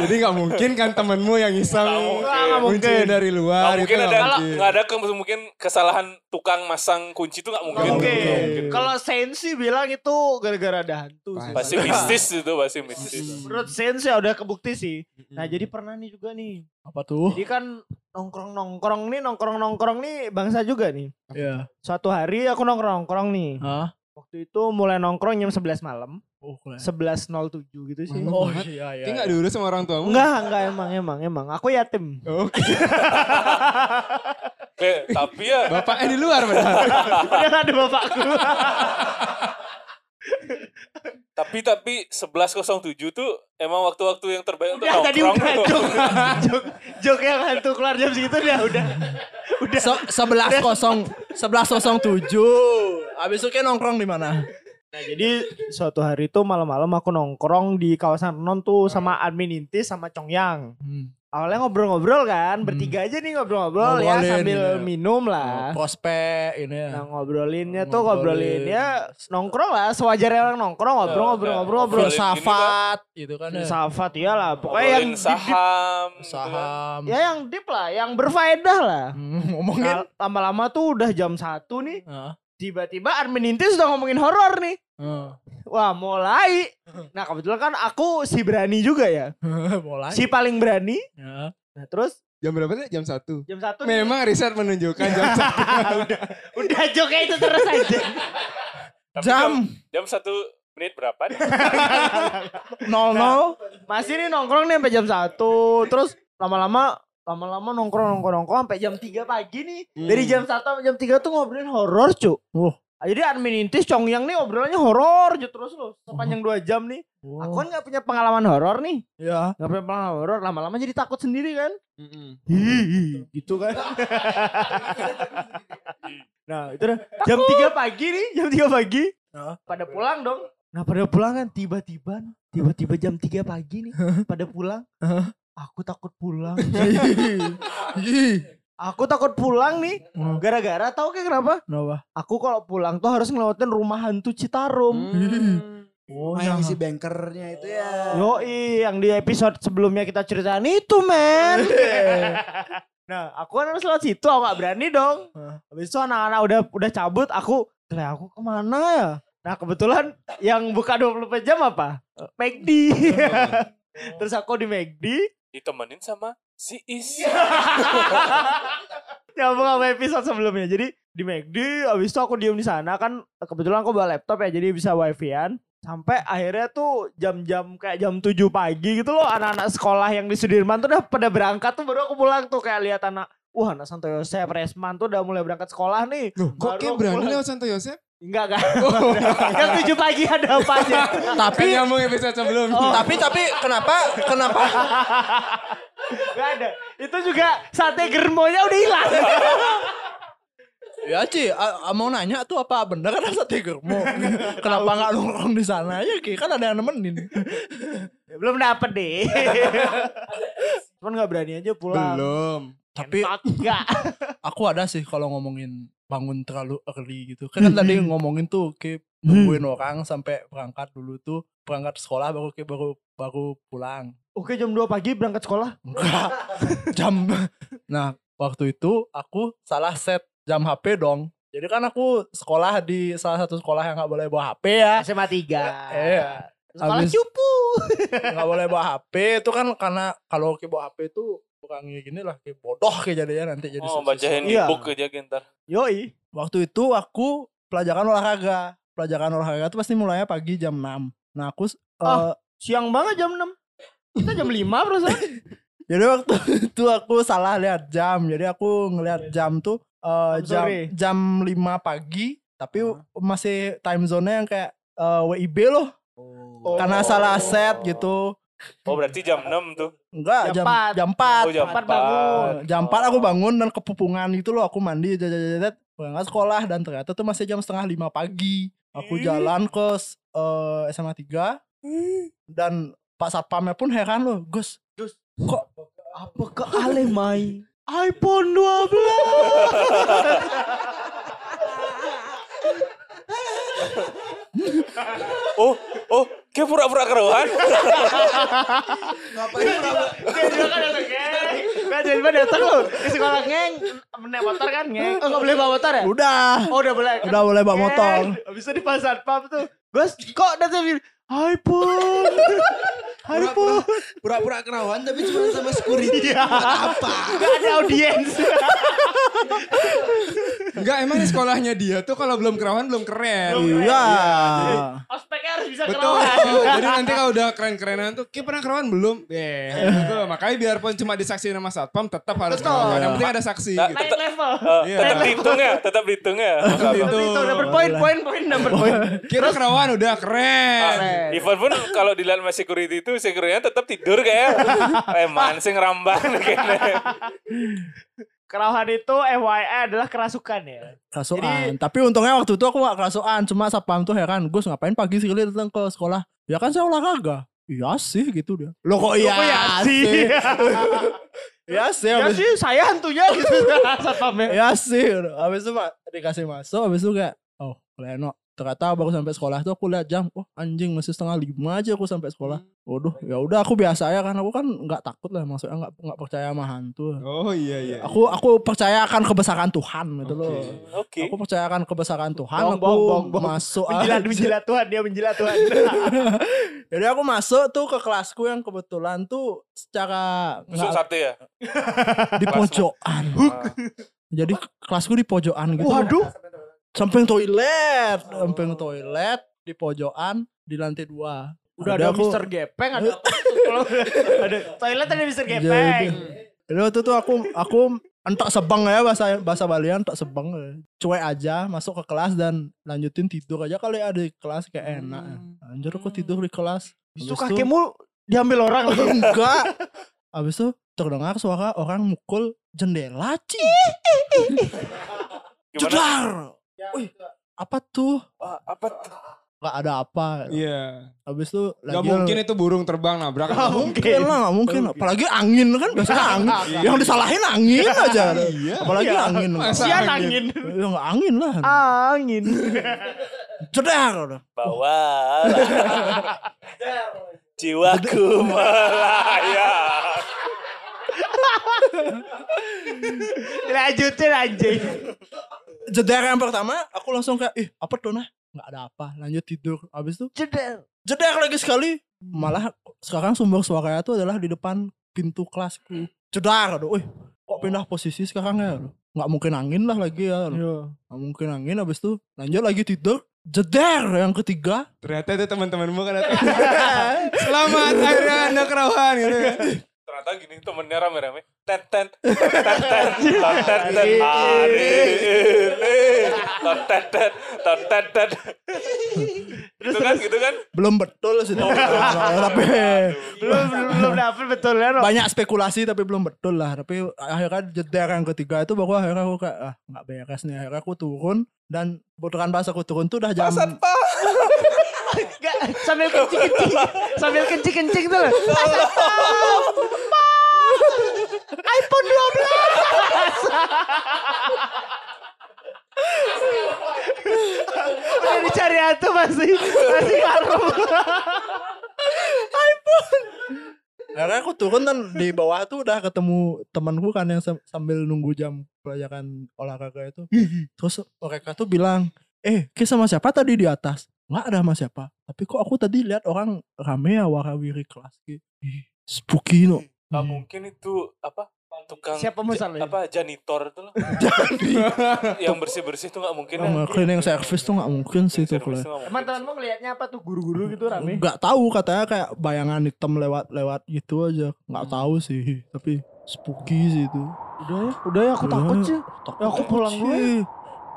Jadi nggak mungkin kan temenmu yang iseng Nggak mungkin. kunci dari Nggak luar Nah, itu mungkin ada nggak nggak ada ke, mungkin kesalahan tukang masang kunci itu nggak Oke. mungkin. Nggak mungkin. Kalau Sensi bilang itu gara-gara ada hantu. sih. Pasti mistis itu, pasti mistis. Menurut Sensi ya udah kebukti sih. Nah jadi pernah nih juga nih. Apa tuh? Jadi kan nongkrong-nongkrong nih, nongkrong-nongkrong nih bangsa juga nih. Iya. Suatu hari aku nongkrong-nongkrong nih. Hah? Waktu itu mulai nongkrong jam 11 malam. Oh, keren. 11.07 gitu sih. Malam. Oh banget. iya iya. Ini nggak diurus sama orang tuamu? Enggak, enggak emang, emang, emang. Aku yatim. Oke, Eh, tapi ya bapaknya di luar padahal. Padahal ada bapakku. tapi tapi 1107 tuh emang waktu-waktu yang terbaik untuk udah Ya, Oh, tadi nongkrong. udah tuh. jok, jok, jok yang hantu keluar jam segitu udah, udah. Udah. sebelas kosong sebelas kosong tujuh. Abis itu kayak nongkrong di mana? Nah, jadi suatu hari itu malam-malam aku nongkrong di kawasan Renon tuh sama admin inti sama Chongyang. Awalnya ngobrol-ngobrol kan, bertiga aja nih ngobrol-ngobrol ya Hmm. Ngobrolin, sambil iya. minum lah. Prospek ini ya. Nah, ngobrolinnya tuh Ngobrolin. ngobrolin ya nongkrong lah sewajarnya orang nongkrong ngobrol Iya, ngobrol ngobrol ngobrol. Ngobrolin gini kan, Filsafat gitu kan ya. Filsafat iyalah, pokoknya yang ngobrolin deep- deep- saham, gitu kan. Saham. ya yang deep lah, yang berfaedah lah. Hmm, Ngomongin. Nah, Lama-lama tuh udah jam satu nih, Hah? tiba-tiba Armin Inti sudah ngomongin horor nih. Heeh. Wah mulai. Nah kebetulan kan aku si berani juga ya. Mulai. Si paling berani. Ya. Nah terus Jam berapa sih? Jam satu. jam satu nih, Memang riset menunjukkan jam satu. udah joknya itu terus aja. Tapi Jam Jam satu menit berapa nih? 00 Nah, Masih nih nongkrong nih sampai jam satu. Terus lama-lama lama-lama nongkrong nongkrong nongkrong sampai jam 3 pagi nih. Dari jam satu sampai jam 3 tuh ngobrolin horor cu. Wah. Ah, Jadi admin intis Chongyang nih obrolannya horor aja terus loh sepanjang dua jam nih. Aku kan gak punya pengalaman horor nih. Ya. Gak punya pengalaman horor lama-lama jadi takut sendiri kan. Mm-mm. Hihi, gitu kan. nah, itu dah. Jam 3 pagi nih, jam 3 pagi. Heeh. Pada pulang dong. Nah, pada pulang kan tiba-tiba nih, tiba-tiba jam 3 pagi nih, pada pulang. Heeh. Aku takut pulang. Ih. Aku takut pulang nih. Heeh. Gara-gara tahu kayak kenapa? Kenapa? Aku kalau pulang tuh harus ngelewatin rumah hantu Citarum. Hmm. Oh, Main si bankernya itu ya. Yoi, yang di episode sebelumnya kita ceritain itu, men. nah, aku kan harus lewat situ, aku gak berani dong. Hah. Habis itu anak-anak udah udah cabut, aku, "Lah, aku kemana ya?" Nah, kebetulan yang buka 24 jam apa? McD. Terus aku di McD, Ditemenin sama si Is. Iya. nyambung sama episode sebelumnya. Jadi di McD, habis itu aku diem di sana kan kebetulan aku bawa laptop ya, jadi bisa wifi-an. Sampai akhirnya tuh jam-jam kayak jam 7 pagi gitu loh anak-anak sekolah yang di Sudirman tuh udah pada berangkat tuh baru aku pulang tuh kayak lihat anak Wah, anak Santo Yosef, Resman tuh udah mulai berangkat sekolah nih. Loh, Baru kok kayak aku berani pulang. lewat Santo Yosef? Enggak, enggak. Jam 7 pagi ada apa aja? Kan Tapi nyambung episode sebelumnya. tapi tapi kenapa kenapa Enggak ada. Itu juga sate germonya udah hilang. Ya Ci, a- a- mau nanya tuh apa bener kan rasa tiger mau Kenapa nggak nongkrong di sana ya Ki? Kan ada yang nemenin. Belum dapet deh. Cuman gak berani aja pulang. Belum. Tapi Enggak. aku ada sih kalau ngomongin bangun terlalu early gitu. Kan, kan tadi ngomongin tuh kayak nungguin orang sampai berangkat dulu tuh berangkat sekolah baru kayak baru baru pulang. Oke jam 2 pagi berangkat sekolah. Enggak. Jam. Nah, waktu itu aku salah set jam HP dong. Jadi kan aku sekolah di salah satu sekolah yang nggak boleh bawa HP ya. SMA 3. Iya. Sekolah Habis- cupu. nggak boleh bawa HP itu kan karena kalau kayak bawa HP itu bukan kayak gini lah kayak bodoh kayak jadinya nanti jadi Oh, sukses. bacain Iya. e-book aja gentar. Yoi. waktu itu aku pelajaran olahraga pelajaran olahraga itu pasti mulainya pagi jam 6 nah aku s- Ah. eh, Siang banget jam 6. Kita jam 5 perasaan. jadi waktu itu aku salah lihat jam jadi aku ngelihat jam tuh eh, Iya. Jam jam sore. Ah. jam 5 pagi tapi Oh. masih time zone-nya yang kayak eh, WIB loh karena salah set gitu Oh berarti jam 6 tuh. Enggak, Jam jam empat. jam Oh 4. jam Empat 4. bangun. Jam 4 aku bangun dan kepupungan gitu loh, aku mandi jajajajadat, berangkat sekolah dan ternyata tuh masih jam setengah lima pagi. Aku Ih. jalan ke eh, SMA 3 Hmm. dan Pak Satpamnya pun heran loh, Gus. Apa ke Alemai? iPhone 12. Oh, oh, kayak pura-pura kerohan. Ngapain Dia kan datang geng. Kan jadi mana datang lu ke sekolah geng. Menek motor kan geng. Oh, nggak boleh bawa motor ya? Udah, Oh udah boleh. udah boleh bawa motor. Habis itu Oh, di pasar pub tuh. Gus, kok datang bil- iPhone. iPhone. Pura-pura- Pura-pura kerawan tapi cuma sama security. Apa? Gak ada audiens. Enggak, emang di sekolahnya dia tuh kalau belum kerawan belum keren. Iya. Ospeknya harus bisa Betul. keluar. Jadi nanti kalau udah keren-kerenan tuh, kayak pernah kerawan belum? Eh, betul. Makanya biarpun cuma disaksiin sama satpam, tetap harus kerawan. Yang penting ada saksi. Nah, Gitu. Lain level. Eh, Iya. tetap dihitung ya, tetap dihitung ya. Dihitung. Itu number point, point, point, number point. Kira kerawan udah keren. Ivan pun kalau dilihat sama security itu, security-nya tetap tidur kayak. Leman sih ngerambang kayaknya. Kerawahan itu FYI adalah kerasukan ya. Kerasukan. Tapi untungnya waktu itu aku gak kerasukan. Cuma satpam tuh heran. Gus ngapain pagi sekali datang ke sekolah? Ya kan saya olahraga. Iya sih gitu dia. Lo kok iya Kok ya sih? Iya sih. Ya Habis, sih, saya hantunya gitu. Satpamnya. iya sih. Habis itu Pak dikasih masuk. Habis itu kayak. Oh Leno. Ternyata baru sampai sekolah tuh aku lihat jam. Oh anjing masih setengah lima aja aku sampai sekolah. Hmm. Waduh ya udah aku biasa ya kan. Aku kan gak takut lah. Maksudnya gak, nggak percaya sama hantu. Oh iya iya. Aku aku percaya akan kebesaran Tuhan gitu loh. Oke. Aku percaya akan kebesaran Tuhan. Bohong, aku bohong, bohong, bohong. masuk Menjilat, aja. menjilat Tuhan. Dia menjilat Tuhan. Jadi aku masuk tuh ke kelasku yang kebetulan tuh secara Besok nggak- satu ya. di pojokan. Jadi kelasku di pojokan gitu. Waduh. Samping toilet, samping toilet di pojokan di lantai dua. Udah Jadi ada aku- Mister Gepeng, ada apa? Kalau ada toilet ada bisa Iya, Jadi- gepeng. Jadi waktu itu aku aku entak sebang ya bahasa bahasa Balian entak sebang. Cuek aja masuk ke kelas dan lanjutin tidur aja kali ada di kelas kayak enak. Anjir aku tidur di kelas. Hmm. Itu Habis tuh- kakekmu diambil orang lagi. enggak habis itu terdengar suara orang mukul jendela ci Gimana? jedar wih apa tuh Apa tuh? nggak ada apa Iya. habis itu Gak lagi mungkin itu burung terbang nabrak. Ah, Gak mungkin lah nggak mungkin apalagi angin kan Iya. biasanya angin yang disalahin angin aja Iya. apalagi angin Masa Sian angin. ya nggak angin lah Ah. Angin. jedar udah Bawa Jiwaku melayang. Lanjutin anjing. jedar yang pertama aku langsung kayak ih apa tuh nah nggak ada apa lanjut tidur habis itu Jedel. jedar lagi sekali malah sekarang sumber suaranya tuh adalah di depan pintu kelasku jedar aduh wih kok pindah posisi sekarang ya aduh. nggak mungkin angin lah lagi ya aduh. Iya. nggak mungkin angin habis itu lanjut lagi tidur jedar yang ketiga Ternyata itu teman-temanmu kan datang. Selamat akhirnya anda kerawan gitu. kan. Ternyata gini temennya rame-rame. Ten ten ten ten ten ten ten ten Ah. hari ini. Ten ten ten ten ten ten. Gitu kan gitu kan? belum betul sih tapi Belum belum dapet betul ya. Rob. banyak spekulasi tapi belum betul lah tapi akhirnya jedar yang ketiga itu baru akhirnya aku kayak ah nggak beres nih akhirnya aku turun dan putaran pas aku turun tuh udah jam Gak, sambil kencing-kencing. Sambil kencing-kencing tuh loh. Asap. iPhone 12. Udah dicari hantu masih masih harum. Akhirnya Nah, kan aku turun dan di bawah tuh udah ketemu temanku kan yang sam- sambil nunggu jam pelajaran olahraga itu. Terus mereka tuh bilang, eh ke sama siapa tadi di atas? Nggak ada sama siapa. Tapi kok aku tadi lihat orang rame ya warawiri kelas. Ki. Ih, Spooky no. Hmm. Gak mungkin itu apa? Tukang Siapa ya? masalahnya? apa janitor itu loh. Yang bersih-bersih itu gak mungkin. Yang cleaning iya. service tuh nggak mungkin sih itu Service kelas. tuh nggak Emang mungkin. temanmu ngelihatnya apa tuh guru-guru gitu rame? Nggak tahu katanya kayak bayangan hitam lewat-lewat gitu aja. Nggak Hmm. tahu sih. Tapi spooky sih itu. Iya. Udah ya, udah ya aku takut sih. Ya, aku pulang dulu ya. Sih.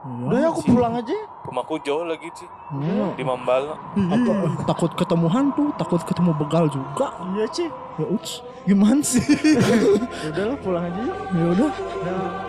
Udah ya aku pulang aja. rumahku jauh lagi Ci Hmm. di Mambala Apa, takut ketemu hantu, takut ketemu begal juga. Iya sih. Ya uts, gimana sih? Udah lah pulang aja. yuk. ya udah. Nah.